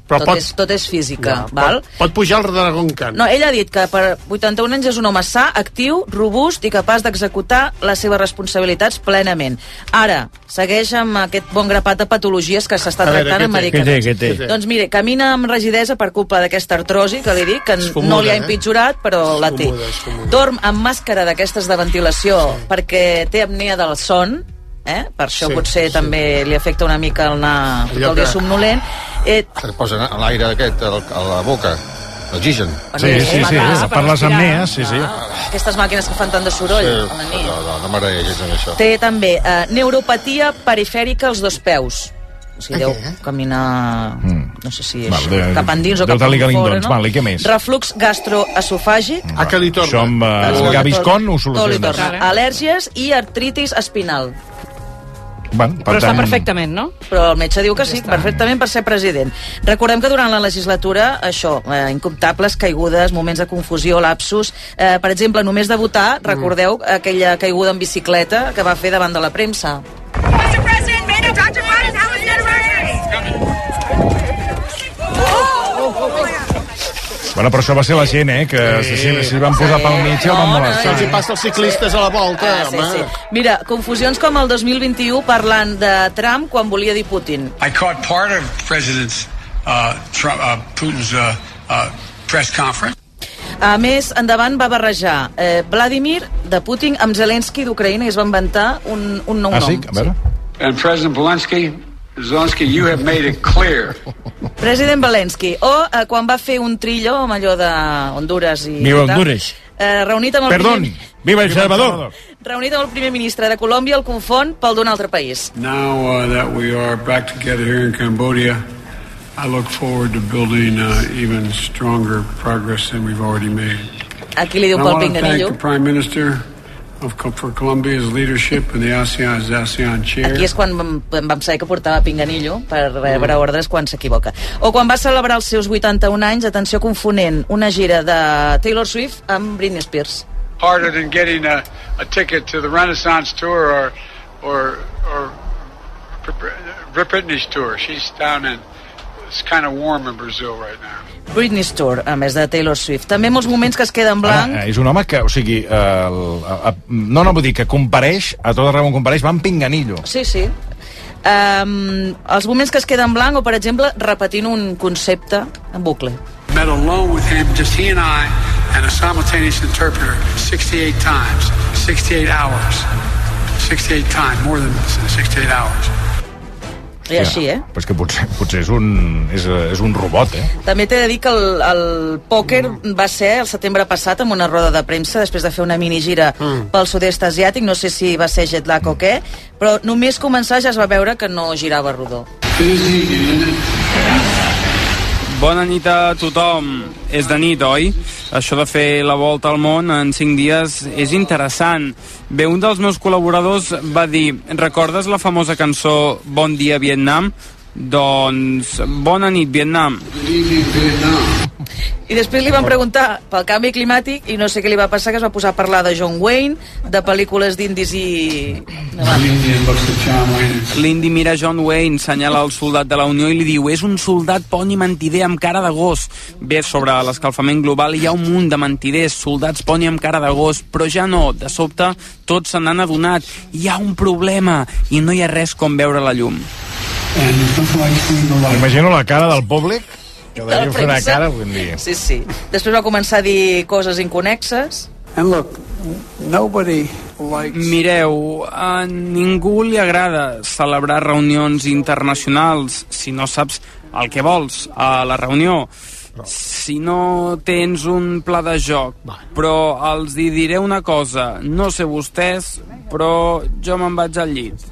Speaker 6: Però
Speaker 19: tot,
Speaker 6: pot-
Speaker 19: és, tot és física,
Speaker 6: pot-
Speaker 19: val?
Speaker 6: Pot pujar el Dragon Khan.
Speaker 19: No, ell ha dit que per 81 anys és un home sa, actiu, robust i capaç d'executar les seves responsabilitats plenament. Ara, segueix amb aquest bon grapat de patologies que s'està
Speaker 26: A veure,
Speaker 19: tractant
Speaker 26: què
Speaker 19: amb
Speaker 26: té, què té,
Speaker 19: medicaments.
Speaker 26: què té?
Speaker 19: Doncs mire, camina amb rigidesa per culpa d'aquesta artrosi, que li dic, que
Speaker 26: fumuda,
Speaker 19: no li ha
Speaker 26: eh?
Speaker 19: empitjorat, però la té. Dorm amb màscara d'aquestes de ventilació perquè té apnea del son, eh? per això
Speaker 8: Sí,
Speaker 19: potser també li afecta una mica el anar
Speaker 8: Allò
Speaker 19: tot el dia
Speaker 8: que-
Speaker 19: somnolent. Eh,
Speaker 8: Que et posen a l'aire aquest a la- a la boca, l'oxigen.
Speaker 5: Sí, sí, sí, eh,
Speaker 19: clar,
Speaker 5: per
Speaker 19: per
Speaker 5: les
Speaker 19: respirar.
Speaker 5: apnees, sí, sí.
Speaker 19: aquestes màquines que fan tant de soroll
Speaker 8: Sí.
Speaker 19: a la nit.
Speaker 8: No, no, no m'agradaria gens amb això.
Speaker 19: Té també eh, neuropatia perifèrica als dos peus. O sigui, deu caminar... No sé si
Speaker 5: Mm.
Speaker 19: és
Speaker 5: Val, de-
Speaker 19: cap endins o
Speaker 5: deu
Speaker 19: cap
Speaker 5: tenir
Speaker 19: enfora,
Speaker 5: galindons.
Speaker 19: no?
Speaker 5: Val, i què més?
Speaker 19: Reflux gastroesofàgic.
Speaker 5: Ah, que li torna. Això amb, eh,
Speaker 19: Tot li
Speaker 5: Gaviscon
Speaker 19: torna.
Speaker 5: ho
Speaker 19: Tot li
Speaker 5: soluciones.
Speaker 19: torna. Al·lèrgies i artritis espinal.
Speaker 5: Bueno, per tant,
Speaker 19: no? Però el metge diu que sí, perfectament per ser president. Recordem que durant la legislatura, això, eh, incomptables caigudes, moments de confusió, lapsus... Eh, per exemple, només de votar,
Speaker 5: Mm.
Speaker 19: recordeu aquella caiguda en bicicleta que va fer davant de la premsa.
Speaker 7: Oh!
Speaker 5: Bueno, però això va ser la gent, eh? Que sí, sí, si van posar pel mig i el van molestar.
Speaker 19: no,
Speaker 6: Què passa als ciclistes a la volta,
Speaker 19: Ah, sí,
Speaker 6: home?
Speaker 19: sí. Mira, confusions com el 2021 parlant de Trump quan volia dir Putin.
Speaker 26: I caught part of President uh, Trump, uh, Putin's uh, uh, press conference.
Speaker 19: A més, endavant va barrejar eh, Vladimir de Putin amb Zelensky d'Ucraïna i es van inventar un, un
Speaker 26: Ah,
Speaker 19: nou nom.
Speaker 26: And President Zelensky, Zelensky, you have made it
Speaker 19: (laughs)
Speaker 26: clear
Speaker 19: President Zelensky. O eh, quan va fer un trillo amb allò de Honduras i...
Speaker 26: Viva
Speaker 19: i tal,
Speaker 26: Honduras.
Speaker 19: Eh, reunit amb el
Speaker 26: Perdón.
Speaker 19: Primer,
Speaker 26: Viva El Salvador.
Speaker 19: reunit amb el primer ministre de Colòmbia, el confon pel d'un altre país.
Speaker 26: Now uh, that we are back together here in Cambodia, I look forward to building uh, even stronger progress than we've already made.
Speaker 19: Aquí li diu
Speaker 26: And I want
Speaker 19: pel
Speaker 26: to thank
Speaker 19: pinganillo.
Speaker 26: the Prime Minister of, Co- for Colombia's leadership and the ASEAN's ASEAN chair.
Speaker 19: Aquí és quan vam, vam saber que portava pinganillo per rebre
Speaker 26: Mm.
Speaker 19: ordres quan s'equivoca. O quan va celebrar els seus 81 anys, atenció confonent, una gira de Taylor Swift amb Britney Spears.
Speaker 26: harder than getting a, a ticket to the Renaissance tour or or or Brit- Britney's tour. She's down in it's kind of warm in Brazil right now.
Speaker 19: Britney Tour, a més de Taylor Swift. També molts moments que es queda en blanc.
Speaker 5: Eh, És un home que, o sigui, eh, el, a, a, no, no, vull dir que compareix, a tot arreu on compareix, va amb pinganillo.
Speaker 19: Sí, sí. Um, els moments que es queda en blanc o, per exemple, repetint un concepte en bucle.
Speaker 26: Met alone with him, just he and I, and a simultaneous interpreter, 68 times, 68 hours, 68 times, more than 68 hours.
Speaker 19: I així, eh?
Speaker 5: Però és que potser, potser és, un, és, eh, és un robot, eh?
Speaker 19: També t'he de dir que el, el pòquer
Speaker 5: Mm.
Speaker 19: va ser el setembre passat amb una roda de premsa després de fer una minigira mm. pel sud-est asiàtic, no sé si va ser jet lag o què, però només començar ja es va veure que no girava rodó.
Speaker 27: Bona nit a tothom. És de nit, oi? Això de fer la volta al món en 5 dies és interessant. Bé, un dels meus col·laboradors va dir «Recordes la famosa cançó Bon dia, Vietnam?» Doncs, bona nit, Vietnam.
Speaker 19: I després li van preguntar pel canvi climàtic i no sé què li va passar, que es va posar a parlar de John Wayne, de pel·lícules d'indis i...
Speaker 27: L'indi mira John Wayne, senyala el soldat de la Unió i li diu és un soldat poni mentider amb cara de gos. Bé, sobre l'escalfament global hi ha un munt de mentiders, soldats poni amb cara de gos, però ja no, de sobte tots se n'han adonat. Hi ha un problema i no hi ha res com veure la llum.
Speaker 5: Imagino la cara del públic que
Speaker 19: de la
Speaker 5: devia fer una
Speaker 19: premsa.
Speaker 5: cara algun dia.
Speaker 19: Sí, sí. Després va començar a dir coses inconexes.
Speaker 27: And look, nobody likes... Mireu, a ningú li agrada celebrar reunions internacionals si no saps el que vols a la reunió. Si no tens un pla de joc, però els hi diré una cosa, no sé vostès, però jo me'n vaig al llit.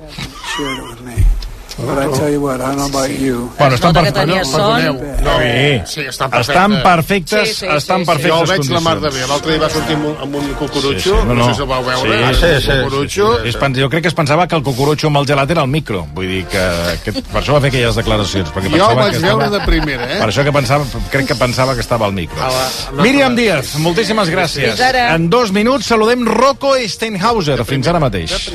Speaker 26: But I tell you what, I don't know about you.
Speaker 5: Bueno, estan
Speaker 27: nota que
Speaker 5: perfectes.
Speaker 27: tenia son.
Speaker 6: No,
Speaker 5: sí.
Speaker 6: sí, estan perfectes.
Speaker 5: Estan perfectes, sí, sí, estan sí, perfectes
Speaker 6: Jo el veig la mar de bé.
Speaker 5: condicions.
Speaker 6: L'altre dia va sortir amb un, amb un cucurutxo, no, sé si el vau veure.
Speaker 5: Sí, sí, sí, sí,
Speaker 6: un
Speaker 5: sí,
Speaker 6: cucurutxo.
Speaker 5: sí, sí. Jo crec que es pensava que el cucurutxo amb el gelat era el micro. Vull dir que, que per això va fer aquelles declaracions. Perquè
Speaker 6: Jo
Speaker 5: pensava
Speaker 6: vaig
Speaker 5: que
Speaker 6: veure
Speaker 5: estava,
Speaker 6: de primera, eh?
Speaker 5: Per això que pensava, crec que pensava que estava al micro. Míriam Díaz, moltíssimes gràcies.
Speaker 6: Fins ara.
Speaker 5: En dos minuts saludem Rocco Steinhauser. Fins ara mateix.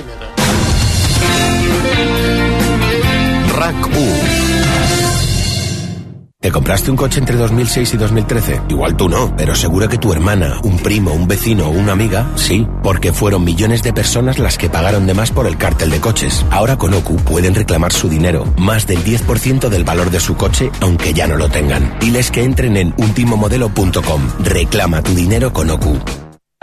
Speaker 12: ¿Te compraste un coche entre 2006 y 2013? Igual tú no, pero seguro que tu hermana, un primo, un vecino o una amiga, sí, porque fueron millones de personas las que pagaron de más por el cártel de coches. Ahora con OCU pueden reclamar su dinero, más del 10% del valor de su coche, aunque ya no lo tengan. Diles que entren en ultimomodelo.com. Reclama tu dinero con OCU.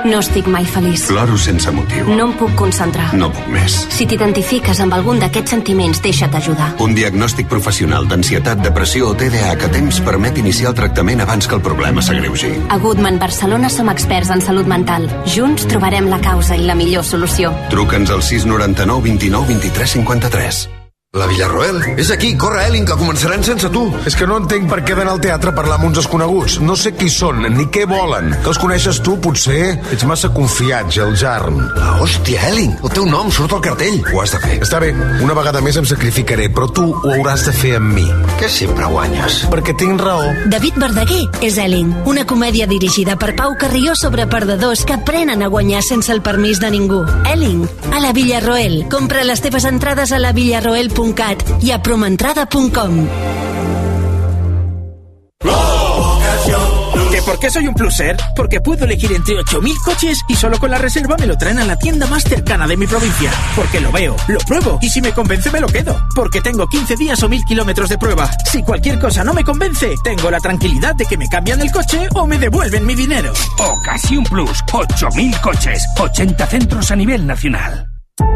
Speaker 13: No estic mai feliç.
Speaker 12: Floro sense motiu.
Speaker 13: No em puc concentrar.
Speaker 12: No puc més.
Speaker 13: Si t'identifiques amb algun d'aquests sentiments, deixa't ajudar.
Speaker 28: Un diagnòstic professional d'ansietat, depressió o TDAH que temps permet iniciar el tractament abans que el problema s'agreugi.
Speaker 13: A Goodman Barcelona som experts en salut mental. Junts trobarem la causa i la millor solució.
Speaker 28: Truca'ns al 699 29 23 53.
Speaker 29: La Villarroel? És aquí, corre, Elin, que començaran sense tu. És que no entenc per què d'anar al teatre a parlar amb uns desconeguts. No sé qui són, ni què volen. Que els coneixes tu, potser? Ets massa confiat, Geljarn. La hòstia, Elin, el teu nom surt al cartell. Ho has de fer. Està bé, una vegada més em sacrificaré, però tu ho hauràs de fer amb mi. Que sempre guanyes. Perquè tinc raó. David Verdaguer és Elin, una comèdia dirigida per Pau Carrió sobre perdedors que aprenen a guanyar sense el permís de ningú. Elin, a la Villarroel. Compra les teves entrades a lavillarroel.cat i a promentrada.com.
Speaker 30: Te
Speaker 2: ¿Por qué soy un pluser? Porque puedo elegir entre 8.000 coches y solo con la reserva me lo traen a la tienda más cercana de mi provincia. Porque lo veo, lo pruebo y si me convence me lo quedo. Porque tengo 15 días o 1.000 kilómetros de prueba. Si cualquier cosa no me convence, tengo la tranquilidad de que me cambian el coche o me devuelven mi dinero.
Speaker 7: Ocasión Plus, 8.000 coches, 80 centros a nivel nacional.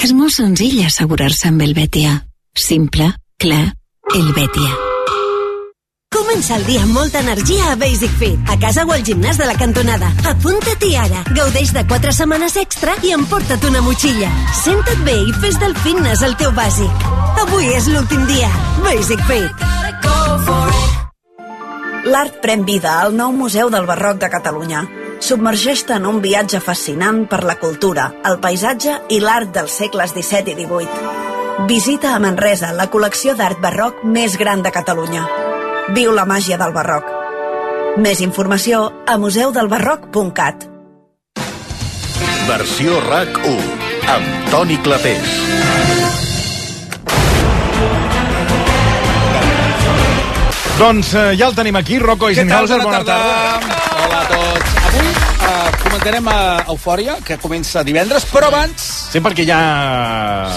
Speaker 11: És molt senzill assegurar-se amb el Betia. Simple, clar, el Betia.
Speaker 31: Comença el dia amb molta energia a Basic Fit, a casa o al gimnàs de la cantonada. Apunta-t'hi ara, gaudeix de 4 setmanes extra i emporta't una motxilla. Senta't bé i fes del fitness el teu bàsic. Avui és l'últim dia. Basic Fit.
Speaker 21: L'art pren vida al nou Museu del Barroc de Catalunya. Submergeix-te en un viatge fascinant per la cultura, el paisatge i l'art dels segles XVII i XVIII. Visita a Manresa la col·lecció d'art barroc més gran de Catalunya. Viu la màgia del barroc. Més informació a museudelbarroc.cat.
Speaker 30: Versió RAC1 amb Toni Clapés.
Speaker 5: Doncs eh, ja el tenim aquí, Rocco Eisenhauser, bona tarda.
Speaker 10: Hola a tots. Avui eh, comentarem a Eufòria, que comença divendres, però abans...
Speaker 5: Sí, perquè ja...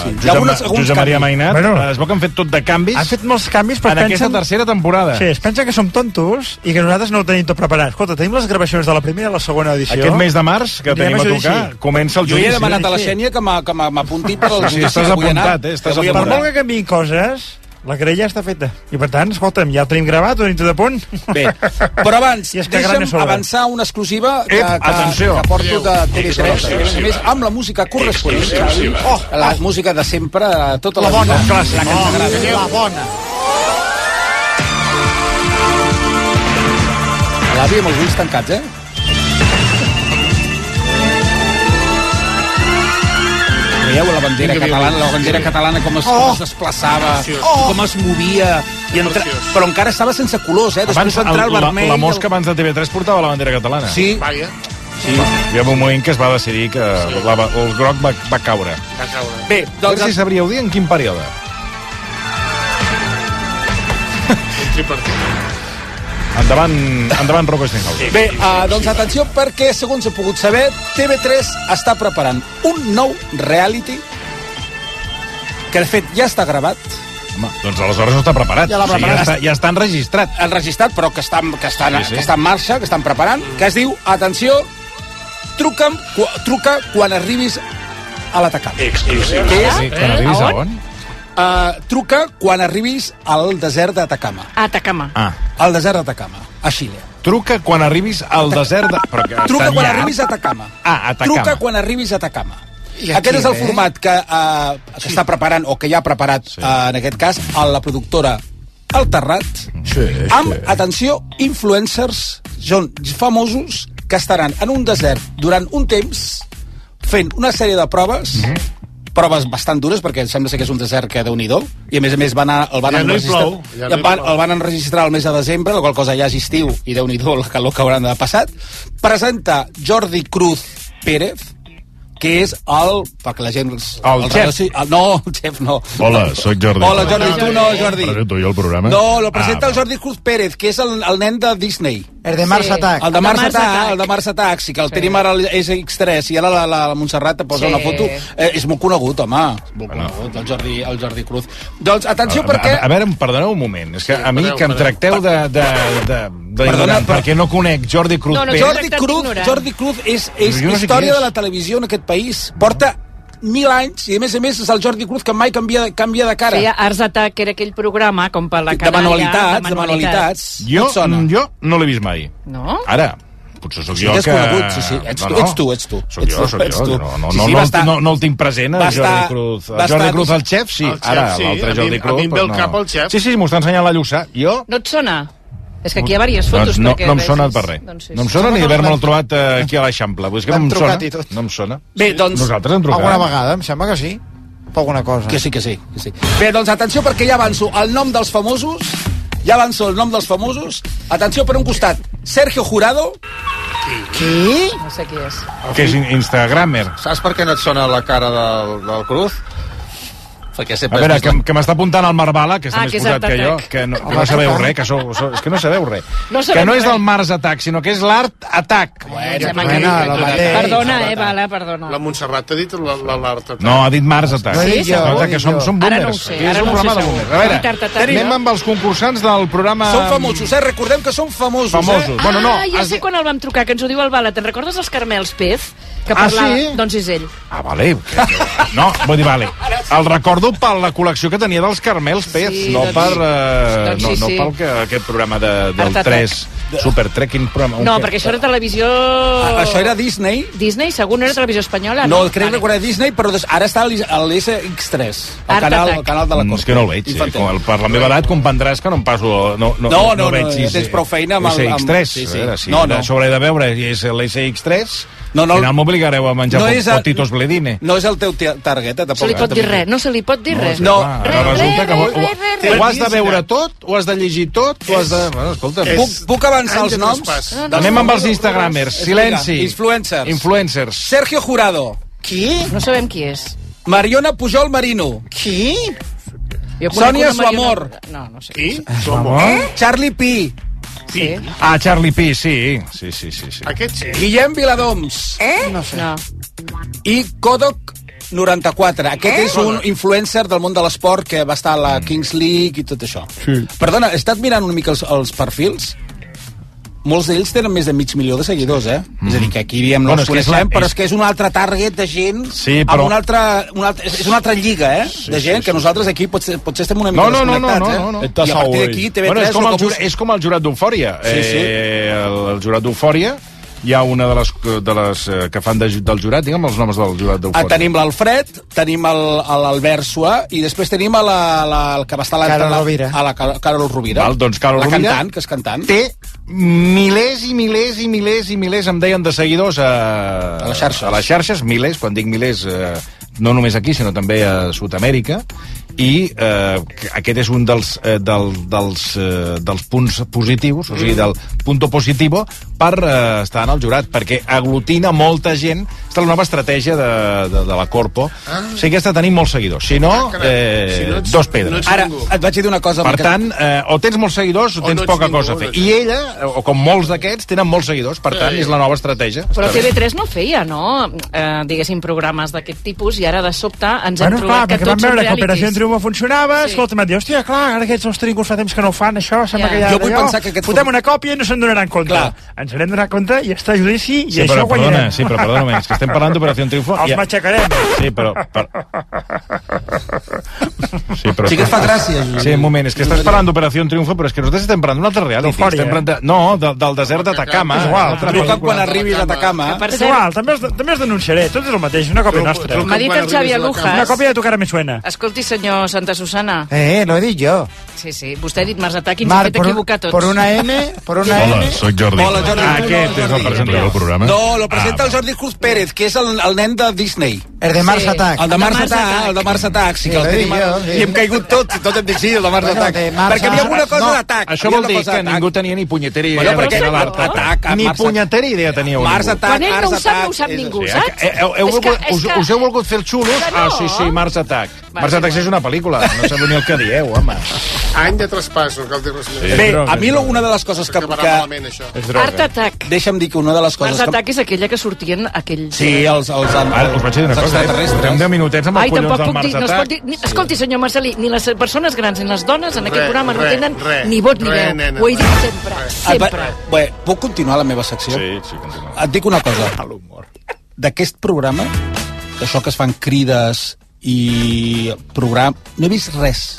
Speaker 5: Sí,
Speaker 10: hi ha algunes- alguns
Speaker 5: Josep Maria
Speaker 10: canvis.
Speaker 5: Mainat, bueno.
Speaker 10: Bueno.
Speaker 5: es veu que han fet tot de canvis.
Speaker 18: Han fet molts canvis, però
Speaker 5: En
Speaker 18: pensen...
Speaker 5: aquesta tercera temporada.
Speaker 18: Sí, es pensa que som tontos i que nosaltres no ho tenim tot preparat. Escolta, tenim les gravacions de la primera i la segona edició.
Speaker 5: Aquest mes de març, que
Speaker 18: Anirem
Speaker 5: tenim a
Speaker 18: judici.
Speaker 5: tocar, comença el
Speaker 18: Jo hi he
Speaker 5: judici.
Speaker 18: demanat
Speaker 10: A la Xènia, que m'ha- que m'ha- m'apunti per al
Speaker 5: Sí,
Speaker 10: judici,
Speaker 5: estàs
Speaker 10: que vull anar.
Speaker 5: apuntat, eh? Estàs
Speaker 10: Que vull
Speaker 18: Per molt
Speaker 10: apuntar.
Speaker 18: que canviïn coses, la querella està feta. I per tant, escolta'm, ja el tenim gravat, ho tenim tot a punt.
Speaker 10: Bé, però abans,
Speaker 18: (laughs) I és que gran
Speaker 10: deixa'm
Speaker 18: és obra.
Speaker 10: avançar una exclusiva que,
Speaker 18: Ep,
Speaker 10: que,
Speaker 18: atenció.
Speaker 10: que porto de TV3,
Speaker 18: Exclusiva.
Speaker 10: que a més a més, amb la música corresponent.
Speaker 18: Exclusiva.
Speaker 10: Oh, la música de sempre, tota la,
Speaker 18: La bona,
Speaker 10: vida,
Speaker 18: clàssica.
Speaker 10: la que ens agrada.
Speaker 18: Oh, la bona.
Speaker 10: L'àvia amb els ulls tancats, eh? Veieu la bandera Vinga, catalana, vinga. la bandera Sí. catalana com es, com Oh! es desplaçava, Preciós. oh! com es movia, i entra... Preciós. però encara estava sense colors, eh?
Speaker 5: Abans,
Speaker 10: Després va entrar el
Speaker 5: la,
Speaker 10: vermell...
Speaker 5: la mosca abans de TV3 portava la bandera catalana.
Speaker 10: Sí.
Speaker 6: Vaja.
Speaker 5: Sí. Hi va un moment que es va decidir que la, el groc va, va caure.
Speaker 10: Bé,
Speaker 5: doncs... A veure si sabríeu dir en quin període. Endavant, endavant Rocco Eisenhauser.
Speaker 10: Bé, uh, doncs atenció perquè, segons he pogut saber, TV3 està preparant un nou reality que, de fet, ja està gravat.
Speaker 5: Home, doncs aleshores no està preparat.
Speaker 10: Ja l'ha
Speaker 5: O sigui,
Speaker 10: preparat.
Speaker 5: ja, està, ja està enregistrat.
Speaker 10: Enregistrat, però que està, que està, sí,
Speaker 5: Sí, sí. Mm.
Speaker 10: sí. Que està en marxa, que estan preparant, que es diu, atenció, truca'm, cu truca quan arribis a l'atacant.
Speaker 5: Exclusiva. Eh, Sí,
Speaker 21: Eh,
Speaker 5: quan arribis a on?
Speaker 10: Uh, truca quan arribis al desert d'Atacama.
Speaker 4: Atacama.
Speaker 5: Ah.
Speaker 10: Al desert d'Atacama, a Xile.
Speaker 5: Truca quan arribis al desert de... Però que
Speaker 10: Truca
Speaker 5: estan
Speaker 10: quan
Speaker 5: ja?
Speaker 10: arribis a Atacama.
Speaker 5: Ah, Atacama.
Speaker 10: Truca quan arribis a Atacama.
Speaker 5: I
Speaker 10: I
Speaker 5: aquí
Speaker 10: aquest és el
Speaker 5: ve.
Speaker 10: format que, uh, que està preparant, o que ja ha preparat, sí. uh, en aquest cas, a la productora El Terrat,
Speaker 1: Sí,
Speaker 10: amb, atenció, influencers són famosos que estaran en un desert durant un temps fent una sèrie de proves
Speaker 6: Mhm.
Speaker 10: proves bastant dures, perquè sembla ser que és un desert que déu nhi i a més a més van, a- el van
Speaker 6: Ja no hi
Speaker 10: enregistrar...
Speaker 6: plou, ja no hi
Speaker 10: van,
Speaker 6: plou.
Speaker 10: el van enregistrar el mes de desembre, la qual cosa ja és estiu, i déu nhi la calor que hauran de passat. Presenta Jordi Cruz Pérez, que és el... perquè la gent... Els,
Speaker 5: El
Speaker 10: els
Speaker 5: xef.
Speaker 10: negoci- el, no, el xef no.
Speaker 5: Hola, sóc Jordi.
Speaker 10: Hola, Jordi, tu no, Jordi.
Speaker 5: Presento jo el programa. Ah,
Speaker 10: No, lo presenta el Jordi Cruz Pérez, que és el, el nen de Disney.
Speaker 18: El de Mars Sí. Attack.
Speaker 10: El de Mars,
Speaker 18: El de Mars
Speaker 10: Attack,
Speaker 18: Attack.
Speaker 10: el de Mars Attack, sí, que el
Speaker 18: Sí.
Speaker 10: tenim ara al SX3, i ara la, la, la Montserrat te posa
Speaker 18: Sí.
Speaker 10: una foto. Eh, és molt conegut, home. És molt conegut, el Jordi, el Jordi Cruz. Doncs, atenció,
Speaker 5: a,
Speaker 10: perquè...
Speaker 5: A, a veure, em perdoneu un moment. És que sí, a mi
Speaker 10: perdoneu,
Speaker 5: que em
Speaker 10: perdoneu.
Speaker 5: tracteu de... de, de, de ignorant, perquè no conec Jordi Cruz Pérez.
Speaker 10: Jordi Cruz, Jordi Cruz és, és
Speaker 5: Jo no sé
Speaker 10: història
Speaker 5: qui és.
Speaker 10: de la televisió en aquest país. Porta mil anys i, a més a més, és el Jordi Cruz que mai canvia, de- canvia de cara.
Speaker 4: Feia Arts Attack, era aquell programa com per la
Speaker 10: De
Speaker 4: canalla.
Speaker 10: manualitats, de manualitats.
Speaker 5: Jo,
Speaker 10: Et sona?
Speaker 5: jo no l'he vist mai.
Speaker 4: No?
Speaker 5: Ara, potser sóc
Speaker 10: Sí,
Speaker 5: jo
Speaker 10: t'has
Speaker 5: que...
Speaker 10: conegut, sí, sí. Ets tu, ets tu, ets tu.
Speaker 5: Sóc
Speaker 10: Ets
Speaker 5: jo,
Speaker 10: tu,
Speaker 5: sóc
Speaker 10: ets
Speaker 5: jo.
Speaker 10: tu.
Speaker 5: No, no,
Speaker 10: Sí,
Speaker 5: no,
Speaker 10: sí,
Speaker 5: no,
Speaker 10: va estar-
Speaker 5: no, no el tinc present, el
Speaker 10: va
Speaker 5: Jordi
Speaker 10: estar-
Speaker 5: Cruz. El
Speaker 10: va
Speaker 5: Jordi
Speaker 10: estar-
Speaker 5: Cruz, el xef, sí.
Speaker 10: El xef,
Speaker 5: Ara,
Speaker 10: sí.
Speaker 5: l'altre
Speaker 10: A mi-
Speaker 5: Jordi
Speaker 10: a
Speaker 5: Cruz.
Speaker 10: mi em ve
Speaker 5: però
Speaker 10: el cap el xef.
Speaker 5: Sí, sí, m'ho està ensenyant la Lluçà. Jo
Speaker 4: No et sona? És que aquí hi ha diverses fotos.
Speaker 5: Doncs no,
Speaker 4: perquè
Speaker 5: no em
Speaker 4: vegis.
Speaker 5: sona per res.
Speaker 4: Doncs sí.
Speaker 5: No em sona ni haver-me'l trobat eh, aquí a l'Eixample. Vull dir que no
Speaker 18: L'han
Speaker 5: em
Speaker 18: trucat i
Speaker 5: sona. No em sona.
Speaker 10: Bé, doncs...
Speaker 5: Nosaltres hem trucat.
Speaker 10: alguna
Speaker 18: vegada, em sembla que sí. Per alguna cosa.
Speaker 10: Que sí, que sí. Que sí. Bé, doncs atenció perquè ja avanço el nom dels famosos. Ja avanço el nom dels famosos. Atenció per un costat. Sergio Jurado. Qui?
Speaker 4: No sé qui és.
Speaker 5: Que és in- Instagrammer.
Speaker 3: Saps per què no et sona la cara del, del Cruz? Perquè
Speaker 5: A
Speaker 3: sempre...
Speaker 5: veure, que, que m'està apuntant el Marbala, que està
Speaker 3: Ah,
Speaker 5: més
Speaker 3: que és
Speaker 5: posat
Speaker 3: Art
Speaker 5: que jo,
Speaker 3: Attack.
Speaker 5: que no, que
Speaker 3: Home,
Speaker 10: Ah,
Speaker 5: no sabeu
Speaker 3: tant.
Speaker 5: res, que sou, sou, és que no sabeu res.
Speaker 4: No sabem
Speaker 5: que no és
Speaker 4: res.
Speaker 5: del Mars Attack, sinó que és l'Art Attack.
Speaker 6: Eh,
Speaker 4: Bueno,
Speaker 5: bueno, el mateix.
Speaker 4: perdona, eh, Bala, perdona.
Speaker 6: La Montserrat t'ha dit la- la- l'art.
Speaker 5: No, ha dit Mars Attack.
Speaker 6: No he dit jo,
Speaker 5: Escolta,
Speaker 6: no he
Speaker 5: que
Speaker 6: dit
Speaker 5: som,
Speaker 6: jo.
Speaker 5: som
Speaker 6: Ara
Speaker 5: boomers.
Speaker 6: no ho sé,
Speaker 5: Aquí és
Speaker 6: ara
Speaker 5: un
Speaker 6: no ho
Speaker 5: programa
Speaker 6: sé
Speaker 5: de
Speaker 6: segur.
Speaker 5: boomers. A veure,
Speaker 6: Art Attack.
Speaker 5: anem amb els concursants del programa...
Speaker 10: Són famosos, eh? Recordem que són famosos,
Speaker 5: Famosos.
Speaker 10: eh?
Speaker 5: Bueno, no,
Speaker 4: ah, ja
Speaker 5: has-
Speaker 4: sé quan el vam trucar, que ens ho diu el Bala. Te'n recordes els Carmels Pez? Que
Speaker 5: Ah,
Speaker 4: parlava...
Speaker 5: sí?
Speaker 4: Doncs és ell.
Speaker 5: Ah, vale. que- No, vull dir, vale. El recordo per la col·lecció que tenia dels Carmels Pez,
Speaker 4: Sí,
Speaker 5: no
Speaker 4: doncs-
Speaker 5: per... Eh,
Speaker 4: doncs
Speaker 5: no,
Speaker 4: sí,
Speaker 5: no
Speaker 4: sí.
Speaker 5: pel que, aquest programa de, del
Speaker 4: Art Attack.
Speaker 5: 3, Super Trek, quin programa...
Speaker 4: No,
Speaker 5: un que-
Speaker 4: perquè això era televisió...
Speaker 10: Ah, això era Disney?
Speaker 4: Disney, segur, no era televisió espanyola.
Speaker 10: No, el crec recordar Disney, però des- ara està a l'SX3, el
Speaker 4: Art
Speaker 10: canal,
Speaker 4: Attack.
Speaker 10: el canal de la
Speaker 5: Mm,
Speaker 10: Costa.
Speaker 5: És que no el veig. Eh?
Speaker 10: Infantil.
Speaker 5: Com el, per la meva edat comprendràs que no em passo... No, no,
Speaker 10: No, no,
Speaker 5: veig
Speaker 10: no,
Speaker 5: sí,
Speaker 10: ja
Speaker 5: sí.
Speaker 10: tens prou feina amb el- amb-
Speaker 5: SX3,
Speaker 10: sí,
Speaker 5: sí,
Speaker 10: sí.
Speaker 5: sí. A veure, si
Speaker 10: No,
Speaker 5: no,
Speaker 10: no.
Speaker 5: no. sobre he de veure i és l'SX3,
Speaker 10: No, no,
Speaker 5: no, no, al final m'obligareu a menjar
Speaker 10: no
Speaker 5: no
Speaker 10: és el-
Speaker 5: potitos bledine.
Speaker 10: No és el teu tia- targeta, tampoc.
Speaker 4: Se li pot dir
Speaker 10: eh?
Speaker 4: res, no se li pot dir res.
Speaker 10: No.
Speaker 5: Ah,
Speaker 4: Res,
Speaker 5: ara resulta
Speaker 4: res,
Speaker 5: que ho,
Speaker 4: res, res, res,
Speaker 5: ho,
Speaker 4: res.
Speaker 5: ho has de veure tot, ho has de llegir tot, ho has de... Bueno, escolta,
Speaker 10: és- Puc- puc avançar els noms? No, no,
Speaker 5: Anem
Speaker 10: no,
Speaker 5: amb els
Speaker 10: no,
Speaker 5: instagramers.
Speaker 10: no, no,
Speaker 5: Silenci.
Speaker 10: vinga, influencers.
Speaker 5: Influencers.
Speaker 10: Sergio Jurado. Qui?
Speaker 4: No sabem qui és.
Speaker 10: Mariona Pujol Marino. Qui?
Speaker 4: Jo conec
Speaker 10: Sònia
Speaker 4: una Mariona-
Speaker 10: Suamor.
Speaker 4: No, no sé.
Speaker 10: Qui?
Speaker 5: Suamor.
Speaker 10: Eh? Charlie Pi.
Speaker 4: Sí.
Speaker 5: Ah, Charlie P, sí. Sí, sí, sí. sí.
Speaker 10: Aquest sí. Guillem Viladoms. Eh? No sé.
Speaker 4: No.
Speaker 10: I Kodok 94. Aquest
Speaker 4: Eh?
Speaker 10: és un influencer del món de l'esport que va estar a la Kings League i tot això. Sí. Perdona, he estat mirant una mica els, els perfils? Molts d'ells tenen més de mig milió de seguidors, eh? Mm. És a dir, que aquí diem no
Speaker 5: Bueno,
Speaker 10: els
Speaker 5: és que és
Speaker 10: coneixem,
Speaker 5: la-
Speaker 10: però
Speaker 5: és-
Speaker 10: és que és un altre target de gent
Speaker 5: Sí, però-
Speaker 10: amb una altra, una altra, és és una altra lliga, eh? Sí, de gent, sí, que nosaltres aquí potser, potser estem una mica
Speaker 5: No, no, no, no,
Speaker 10: desconnectats,
Speaker 5: no,
Speaker 10: eh?
Speaker 5: no, no.
Speaker 10: I a partir d'aquí TV3...
Speaker 5: bueno, és, com
Speaker 10: no com-
Speaker 5: el, jur, és com el jurat d'Eufòria.
Speaker 10: Sí, sí.
Speaker 5: Eh, el, el jurat d'Eufòria hi ha una de les, de les eh, que fan de, ju- del jurat, digue'm els noms del jurat
Speaker 10: Ah,
Speaker 5: d'Eufòria.
Speaker 10: tenim l'Alfred, tenim el- a l'Albert Suà i després tenim a la, la, el que va estar a la,
Speaker 5: Carol
Speaker 10: a la-
Speaker 5: Rovira.
Speaker 10: A la Car- Carol Rovira.
Speaker 5: Val, doncs Carol
Speaker 10: la
Speaker 5: Rovira
Speaker 10: cantant, que és cantant.
Speaker 5: té milers i milers i milers i milers, em deien, de seguidors a, a, les xarxes. a les xarxes, milers, quan dic milers, eh, no només aquí, sinó també a Sud-amèrica, i eh, que- aquest és un dels, eh, del, dels, eh, dels punts positius, o
Speaker 10: Mm.
Speaker 5: sigui, del punto positivo, per eh, estar en el jurat, perquè aglutina molta gent. Aquesta és la nova estratègia de, de, de la Corpo. Ah. O sigui, aquesta tenim molts seguidors. Si no, eh,
Speaker 10: Ah, Si no ets-
Speaker 5: dos pedres.
Speaker 10: Ara, et vaig dir una cosa.
Speaker 5: Per
Speaker 10: perquè-
Speaker 5: tant, eh, o tens molts seguidors o
Speaker 10: O
Speaker 5: tens
Speaker 10: no ets
Speaker 5: poca
Speaker 10: ningú,
Speaker 5: cosa a fer.
Speaker 10: no
Speaker 5: I ella, o com molts d'aquests, tenen molts seguidors, per tant,
Speaker 4: Sí.
Speaker 5: és la nova estratègia.
Speaker 4: Però
Speaker 5: Està bé.
Speaker 4: TV3 no feia, no? Eh, diguéssim, programes d'aquest tipus i ara de sobte ens hem
Speaker 3: Bueno, clar,
Speaker 4: trobat
Speaker 3: perquè
Speaker 4: que
Speaker 3: vam
Speaker 4: tots són
Speaker 3: veure que Operació en
Speaker 4: realities.
Speaker 3: Triunfo funcionava, sí. escolta'm, et diu, hòstia, clar, ara aquests els tringos fa temps que no ho fan, això, sembla
Speaker 4: Ja.
Speaker 3: que ja...
Speaker 4: Jo vull
Speaker 3: d'allò,
Speaker 4: pensar que aquest
Speaker 3: Fotem una còpia i no se'n donaran compte. Clar. Ens haurem d'anar compte i està a judici i
Speaker 5: Sí,
Speaker 3: això
Speaker 5: però,
Speaker 3: guanyarem.
Speaker 5: perdona, sí, però perdona, és que estem parlant d'Operació Triunfo.
Speaker 3: Els matxacarem.
Speaker 5: Sí, però... Per... Sí, però...
Speaker 3: Sí que et fa gràcia, Josep.
Speaker 5: Sí, un moment, és que estàs parlant d'Operació Triunfo, però és que nosaltres estem parlant d'una altra reality.
Speaker 3: D'Eufòria.
Speaker 5: Estem parlant de... No, del, del desert d'Atacama.
Speaker 3: És igual,
Speaker 5: Una altra
Speaker 3: truca
Speaker 5: pel·lícula.
Speaker 3: quan arribis a Atacama.
Speaker 5: Que per
Speaker 3: És
Speaker 5: cert-
Speaker 3: igual, també els, també els denunciaré, tot és el mateix, una còpia
Speaker 4: Truca-
Speaker 3: nostra.
Speaker 4: truca M'ha dit quan el arribis Xavi a Agujas.
Speaker 3: Una còpia de tu cara me suena.
Speaker 4: Escolti, senyor Santa Susana.
Speaker 3: Eh, no he dit jo.
Speaker 4: Sí, sí, vostè ha dit Mars Attack i ens hem fet equivocar tots.
Speaker 3: per
Speaker 5: una Hola, N. soc Jordi.
Speaker 10: Hola, Jordi.
Speaker 5: Ah, aquest
Speaker 10: Hola,
Speaker 5: és el
Speaker 10: Jordi.
Speaker 5: presentador del programa?
Speaker 10: No,
Speaker 5: Ah,
Speaker 10: lo presenta el Jordi Cruz Pérez, que és el, el nen de Disney.
Speaker 3: El de Mars Sí. Attack.
Speaker 10: El de Mars
Speaker 3: El de Mars
Speaker 10: Attack, el de Mars Attack. Sí,
Speaker 3: Sí,
Speaker 10: que el
Speaker 3: l'he dit
Speaker 10: tenim ara.
Speaker 3: jo, sí.
Speaker 10: I hem caigut tots, i tots hem dit sí, el de Mars
Speaker 3: Bueno,
Speaker 10: Attack.
Speaker 3: de Mars
Speaker 10: Perquè hi havia alguna
Speaker 3: Attack,
Speaker 10: cosa
Speaker 3: no.
Speaker 10: d'atac.
Speaker 5: Això vol dir que ningú tenia ni punyetera idea
Speaker 10: Bueno,
Speaker 5: de
Speaker 10: perquè-
Speaker 5: què era l'art
Speaker 10: Atac,
Speaker 5: Attack.
Speaker 10: Mars
Speaker 5: Ni
Speaker 10: Attack.
Speaker 5: punyetera idea tenia
Speaker 10: Mars
Speaker 5: ningú.
Speaker 10: Attack,
Speaker 4: Quan ell no ho sap, no ho sap ningú,
Speaker 5: Sí,
Speaker 4: saps?
Speaker 5: eh, heu, heu
Speaker 4: És que-
Speaker 5: volgut,
Speaker 4: és
Speaker 5: us,
Speaker 4: que-
Speaker 5: us heu volgut fer els xulos?
Speaker 4: Que no.
Speaker 5: Ah, sí, sí, Mars Attack. Mars Attack és una pel·lícula, no sabeu ni el que dieu, home.
Speaker 6: Any de traspàs, no cal dir res més.
Speaker 5: Sí, Bé, és droga,
Speaker 10: A mi lo- una de les coses que...
Speaker 6: Acabarà
Speaker 10: que...
Speaker 6: malament, això.
Speaker 5: És
Speaker 4: Art Attack.
Speaker 10: Deixa'm dir que una de les
Speaker 4: Mars
Speaker 10: coses que...
Speaker 4: Attack és aquella que sortien aquells...
Speaker 10: Sí, els, els,
Speaker 5: Ara, us vaig dir una
Speaker 10: els
Speaker 5: cosa, eh?
Speaker 10: extraterrestres.
Speaker 5: Portem 10 minutets amb
Speaker 4: Ai,
Speaker 5: els collons
Speaker 4: tampoc
Speaker 5: del
Speaker 4: puc dir,
Speaker 5: Mars
Speaker 4: no es pot
Speaker 5: Attack.
Speaker 4: dir... ni- Escolti, senyor Marcelí, ni les persones grans ni les dones en aquest
Speaker 10: Re,
Speaker 4: programa no
Speaker 10: re,
Speaker 4: tenen
Speaker 10: re,
Speaker 4: ni vot ni
Speaker 10: re,
Speaker 4: veu.
Speaker 10: nena,
Speaker 4: Ho he dit sempre,
Speaker 10: Et Ah, va-
Speaker 4: sempre.
Speaker 10: Bé, puc continuar la meva secció?
Speaker 5: Sí, sí, continua.
Speaker 10: Et dic una cosa. A l'humor. D'aquest programa, d'això que es fan crides i programa... No he vist res.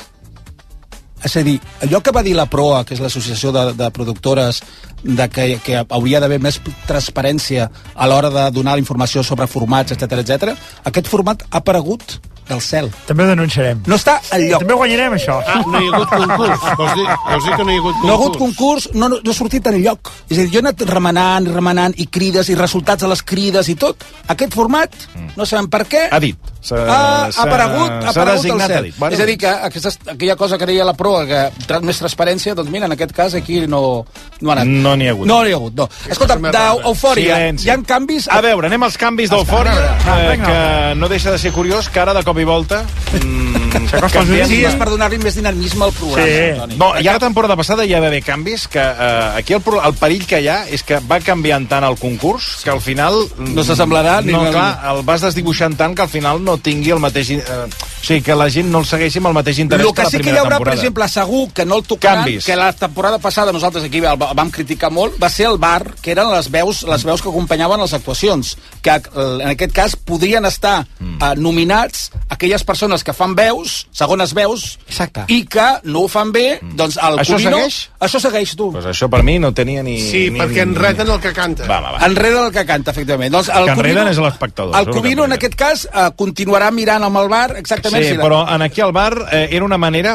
Speaker 10: És a dir, allò que va dir la PROA, que és l'associació de, de productores, de que, que hauria d'haver més transparència a l'hora de donar la informació sobre formats, etc etc. aquest format ha aparegut del cel.
Speaker 18: També ho denunciarem.
Speaker 10: No està al lloc.
Speaker 18: També guanyarem, això.
Speaker 10: Ah, no hi ha hagut
Speaker 18: (laughs)
Speaker 10: concurs. Vols dir- vols dir que no hi ha hagut No ha hagut concurs, no, no, no ha sortit en lloc. És a dir, jo he anat remenant i remenant i crides i resultats a les crides i tot. Aquest format,
Speaker 18: Mm.
Speaker 10: no sabem per què...
Speaker 5: Ha dit. S'ha-
Speaker 10: Ha, ha
Speaker 5: Eh, s'ha-
Speaker 10: aparegut, ha
Speaker 5: s'ha
Speaker 10: aparegut el
Speaker 5: designat, ha
Speaker 10: cel.
Speaker 5: dit. Bueno.
Speaker 10: és a dir, que aquesta, aquella cosa que deia la proa, que tra- més transparència, doncs mira, en aquest cas aquí no, no ha anat.
Speaker 5: No n'hi ha hagut.
Speaker 10: No n'hi ha hagut, no. Escolta, d'eufòria,
Speaker 5: Silenci.
Speaker 10: hi ha canvis...
Speaker 5: A veure, anem als canvis d'Eufòria,
Speaker 10: Ah,
Speaker 5: eh,
Speaker 10: vinga.
Speaker 5: que no deixa de ser curiós, que ara de cop i volta... Mm, canviem-
Speaker 10: Sí, és per donar-li més dinamisme al programa, eh, Toni.
Speaker 5: No, i ara temporada passada hi va haver canvis que eh, aquí el, pro- el perill que hi ha és que va canviant tant el concurs que al final... mm,
Speaker 10: No s'assemblarà ni
Speaker 5: No,
Speaker 10: una-
Speaker 5: clar, el vas desdibuixant tant que al final no tingui el mateix... Eh, o sigui, que la gent no el segueixi amb el mateix interès
Speaker 10: El que
Speaker 5: la
Speaker 10: sí que hi
Speaker 5: primera
Speaker 10: haurà, per
Speaker 5: temporada.
Speaker 10: exemple, segur que no el tocaran,
Speaker 5: Canvis.
Speaker 10: que la temporada passada nosaltres aquí el va- vam criticar molt, va ser el bar, que eren les veus, les veus que acompanyaven les actuacions, que eh, en aquest cas podrien estar
Speaker 5: Mm.
Speaker 10: eh, nominats aquelles persones que fan veus, segones veus, Exacte. i que no ho fan bé, doncs el
Speaker 5: Mm. Això
Speaker 10: Covino...
Speaker 5: segueix?
Speaker 10: Això segueix, tu.
Speaker 5: Pues això per mi no tenia ni...
Speaker 10: Sí,
Speaker 5: ni,
Speaker 10: perquè
Speaker 5: ni,
Speaker 10: enreden
Speaker 5: el que canta. Va, va, va.
Speaker 10: Enreda el que canta, efectivament. Doncs el
Speaker 5: Que enreden
Speaker 10: Covino-
Speaker 5: és l'espectador,
Speaker 10: El
Speaker 5: és el que
Speaker 10: Covino, en aquest cas, eh, continuarà mirant amb el bar exactament...
Speaker 5: Sí,
Speaker 10: si la-
Speaker 5: però en aquí al bar eh, era una manera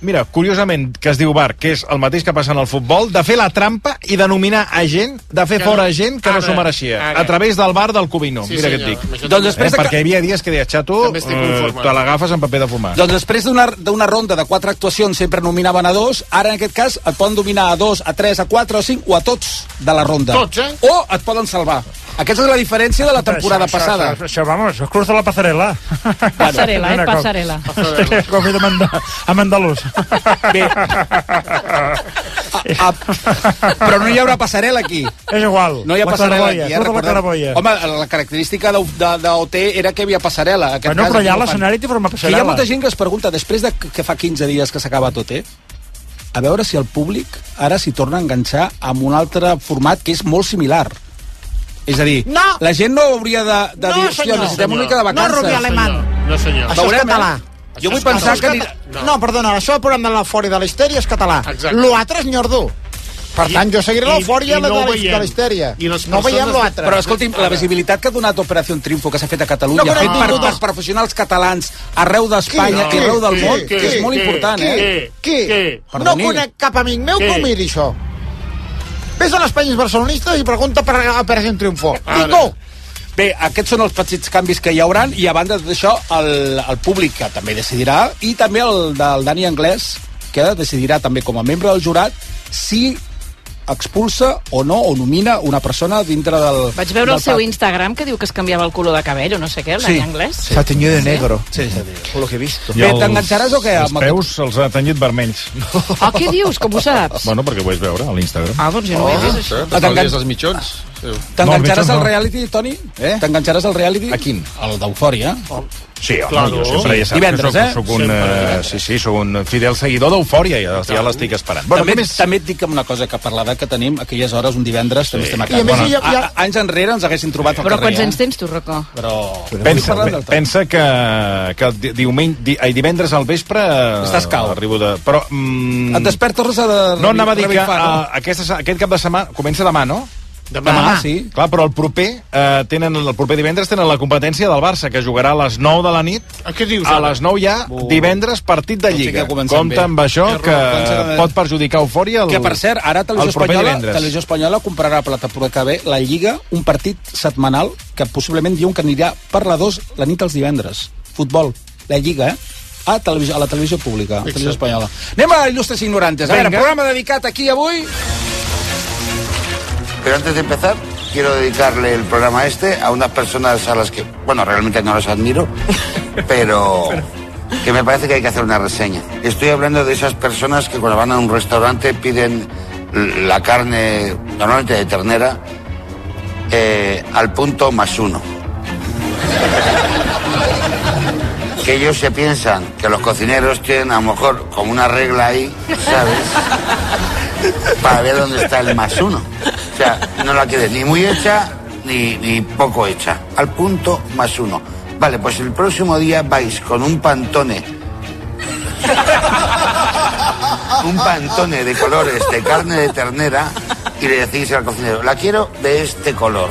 Speaker 5: Mira, curiosament, que es diu bar, que és el mateix que passa en el futbol, de fer la trampa i de nominar a gent, de fer
Speaker 10: Que no-
Speaker 5: fora gent que no
Speaker 10: ara,
Speaker 5: s'ho mereixia,
Speaker 10: ara.
Speaker 5: a través del bar del Covino.
Speaker 10: Sí,
Speaker 5: Mira
Speaker 10: senyor,
Speaker 5: què
Speaker 10: amb
Speaker 5: et dic.
Speaker 10: això Doncs també. després
Speaker 5: eh,
Speaker 10: de
Speaker 5: perquè hi havia dies que deia, xato, eh,
Speaker 10: estic conforme.
Speaker 5: te l'agafes en paper de fumar.
Speaker 10: Doncs després d'una d'una ronda de quatre actuacions sempre nominaven a dos, ara en aquest cas et poden dominar a dos, a tres, a quatre, a cinc o a tots de la ronda.
Speaker 18: Tots,
Speaker 10: eh? O et poden salvar. Aquesta és la diferència de la temporada
Speaker 18: Això- això-
Speaker 10: passada.
Speaker 18: Això, això, vamos, això cruza la pasarela.
Speaker 4: Passarela, eh?
Speaker 18: Mira com-
Speaker 4: Passarela.
Speaker 10: (laughs)
Speaker 18: Hòstia, com he de mandar a (laughs) Mandalús.
Speaker 10: Bé. A, Però no hi haurà passarel·la aquí.
Speaker 18: És igual.
Speaker 10: No hi ha
Speaker 18: la
Speaker 10: passarel·la
Speaker 18: claraboia, Cruza
Speaker 10: aquí, eh?
Speaker 18: la
Speaker 10: recordem.
Speaker 18: claraboia.
Speaker 10: Home, la característica d'O- de- d'OT era que hi havia passarel·la. En Aquest
Speaker 18: Bueno,
Speaker 10: cas,
Speaker 18: però
Speaker 10: aquí
Speaker 18: allà
Speaker 10: no
Speaker 18: a
Speaker 10: fan.
Speaker 18: l'escenari té forma
Speaker 10: Que hi ha
Speaker 18: passarel·la.
Speaker 10: molta gent que es pregunta, després de que fa 15 dies que s'acaba tot, eh? A veure si el públic ara s'hi torna a enganxar amb un altre format que és molt similar. És a dir, no. la gent no hauria de, de dir, hòstia, necessitem una mica de vacances.
Speaker 8: No, senyor. Això
Speaker 10: Veurem,
Speaker 8: és català.
Speaker 10: eh? Jo vull pensar
Speaker 8: Això
Speaker 10: que... Ni...
Speaker 8: és cata- No. no, perdona, això del programa de l'eufòria de la histèria és català.
Speaker 32: Exacte.
Speaker 8: L'altre és nyordú. Per tant, jo seguiré
Speaker 10: I-
Speaker 8: l'eufòria
Speaker 10: i
Speaker 8: de,
Speaker 10: no
Speaker 8: la-
Speaker 10: ho veiem.
Speaker 8: de la histèria.
Speaker 10: I les
Speaker 8: No veiem
Speaker 10: persones-
Speaker 8: l'altre.
Speaker 10: Però escolti'm, la visibilitat que ha donat Operació Triunfo que s'ha fet a Catalunya,
Speaker 8: No,
Speaker 10: no,
Speaker 8: però
Speaker 10: fet
Speaker 8: no,
Speaker 10: per,
Speaker 8: no, no.
Speaker 10: per professionals catalans arreu d'Espanya i arreu del món, que és molt important,
Speaker 8: qui,
Speaker 10: eh?
Speaker 8: Qui? No
Speaker 10: Perdoni.
Speaker 8: conec cap amic meu
Speaker 10: Qui?
Speaker 8: que ho miri, això. Ves a les penyes barcelonistes i pregunta per Operació Triunfo. I no!
Speaker 10: Ah, Bé, aquests són els petits canvis que hi hauran i a banda d'això el, el públic que també decidirà i també el del Dani Anglès que decidirà també com a membre del jurat si expulsa o no o nomina una persona dintre del...
Speaker 4: Vaig veure
Speaker 10: del
Speaker 4: el seu
Speaker 10: pat-
Speaker 4: Instagram que diu que es canviava el color de cabell o no sé què, l'any
Speaker 10: Sí.
Speaker 4: anglès.
Speaker 10: Se ha teñido de
Speaker 18: negro.
Speaker 10: Sí, sí, sí. Lo que he visto.
Speaker 5: I
Speaker 10: Bé,
Speaker 5: els-
Speaker 10: t'enganxaràs o què?
Speaker 5: Els
Speaker 10: amb el-
Speaker 5: peus els ha tenyit vermells. (laughs)
Speaker 4: Oh, què dius? Com ho
Speaker 10: (laughs)
Speaker 4: saps?
Speaker 5: Bueno, perquè ho vaig veure a l'Instagram.
Speaker 4: Ah, doncs jo no ho he vist, això.
Speaker 33: T'estalvies els mitjons.
Speaker 10: Oh. T'enganxaràs
Speaker 5: No,
Speaker 10: al
Speaker 5: no.
Speaker 10: reality, Toni? Eh? T'enganxaràs al reality? A
Speaker 5: quin?
Speaker 10: Al d'Eufòria.
Speaker 5: Sí, home,
Speaker 10: Claro.
Speaker 5: jo sempre ja saps
Speaker 10: Divendres,
Speaker 5: que
Speaker 10: eh?
Speaker 5: soc, soc un,
Speaker 10: Sempre
Speaker 5: eh?
Speaker 10: divendres.
Speaker 5: Sí, sí, soc un fidel seguidor d'Eufòria, ja, ja l'estic esperant.
Speaker 10: Bueno, també, més... també et dic una cosa, que per l'edat que tenim, aquelles hores, un divendres, també estem a
Speaker 4: I
Speaker 10: casa.
Speaker 4: a més, hi ha- hi ha-
Speaker 10: a- anys enrere ens haguessin trobat al
Speaker 4: Però
Speaker 10: carrer.
Speaker 4: quants anys tens tu, Rocco?
Speaker 10: eh? Però...
Speaker 5: Pensa,
Speaker 10: Avui parlem del
Speaker 5: pensa que, que di- diumenge, di, ai, divendres al vespre... eh,
Speaker 10: Estàs cal.
Speaker 5: Arribo de... Però... Mm,
Speaker 10: Et despertes de...
Speaker 5: No, anava a dir que
Speaker 10: revifar, no?
Speaker 5: a, aquesta, se- aquest cap de setmana... Comença demà, no?
Speaker 10: Demà. sí.
Speaker 5: Clar, però el proper, eh, tenen, el proper divendres tenen la competència del Barça, que jugarà a les 9 de la nit.
Speaker 10: A Ah, què dius,
Speaker 5: A
Speaker 10: ara?
Speaker 5: les 9 ja, divendres, partit de
Speaker 10: Doncs sí
Speaker 5: Lliga.
Speaker 10: que comencem
Speaker 5: Compte
Speaker 10: bé.
Speaker 5: amb això,
Speaker 10: Té raó,
Speaker 5: que
Speaker 10: comencem bé.
Speaker 5: pot perjudicar eufòria el,
Speaker 10: Que, per cert, ara Televisió
Speaker 5: el proper
Speaker 10: Espanyola,
Speaker 5: divendres.
Speaker 10: Televisió Espanyola comprarà per la temporada que ve la Lliga, un partit setmanal que possiblement diuen que anirà per la 2 la nit dels divendres. Futbol, la Lliga, eh? A, televisió, a la televisió pública, a la televisió espanyola. Anem a il·lustres ignorantes. A veure,
Speaker 28: Vinga.
Speaker 10: programa dedicat aquí avui...
Speaker 28: Pero antes de empezar, quiero dedicarle el programa este a unas personas a las que, bueno, realmente no
Speaker 10: (laughs)
Speaker 28: las admiro, pero que me parece que hay que hacer una reseña. Estoy hablando de esas personas que cuando van a un restaurante piden l- la carne, normalmente de ternera, eh, al punto más uno. Que ellos se piensan que los cocineros tienen a lo mejor como una regla ahí, ¿sabes? Para ver dónde está el más uno. O sea, no la quieres ni muy hecha ni, ni poco hecha. Al punto más uno. Vale, pues el próximo día vais con un pantone. Un pantone de colores de carne de ternera y le decís al cocinero, la quiero de este color.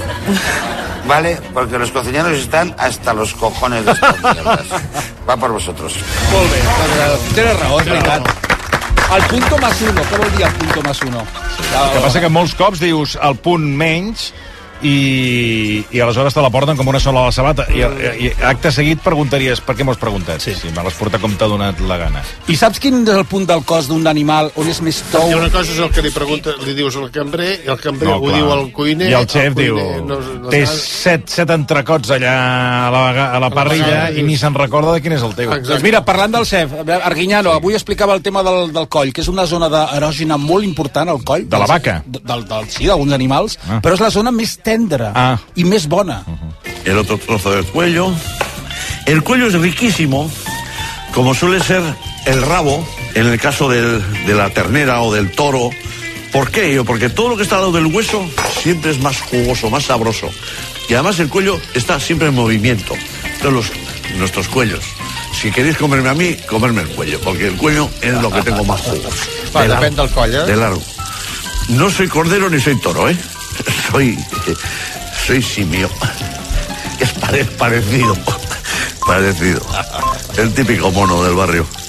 Speaker 28: ¿Vale? Porque los cocineros están hasta los cojones de estas mierdas. Va per vosaltres.
Speaker 10: Molt bé, tens raó, és veritat. El punto más uno, què vol dir el punto más uno?
Speaker 5: El que passa que molts cops dius el punt menys i, i aleshores te la porten com una sola a la sabata i, i acte seguit preguntaries per què m'ho has preguntat sí. si me l'has portat com t'ha donat la gana
Speaker 10: I saps quin és el punt del cos d'un animal on és més tou?
Speaker 6: Hi ha una cosa és el que li pregunta, li dius al cambrer, i el cambrer
Speaker 5: No,
Speaker 6: no, ho
Speaker 5: clar.
Speaker 6: diu al cuiner...
Speaker 5: I el xef diu,
Speaker 6: No, no,
Speaker 5: té set, set entrecots allà a la, vega- a la parrilla i ni se'n recorda de quin és el teu
Speaker 10: Doncs mira, parlant del chef, Arguiñano, avui explicava el tema del, del coll, que és una zona d'erògena molt important, el coll.
Speaker 5: De la vaca.
Speaker 10: De- Del, del, sí, d'alguns animals, ah. però és la zona més tendra ah. i més bona.
Speaker 34: el otro trozo del cuello. El cuello es riquísimo, como suele ser el rabo, en el caso del- de la ternera o del toro. ¿Por qué ello? Porque todo lo que está al lado del hueso siempre es más jugoso, más sabroso. Y además el cuello está siempre en movimiento. Todos los- nuestros cuellos. Si queréis comerme a mí, comerme el cuello, porque el cuello es lo que tengo más jugo.
Speaker 8: (laughs) Va,
Speaker 34: De
Speaker 8: depèn
Speaker 34: largo,
Speaker 8: del coll, eh?
Speaker 34: De largo. No soy cordero ni soy toro, ¿eh? (laughs) Soy, soy simio. (laughs) Es pare- parecido. Parecido. El típico mono del barrio.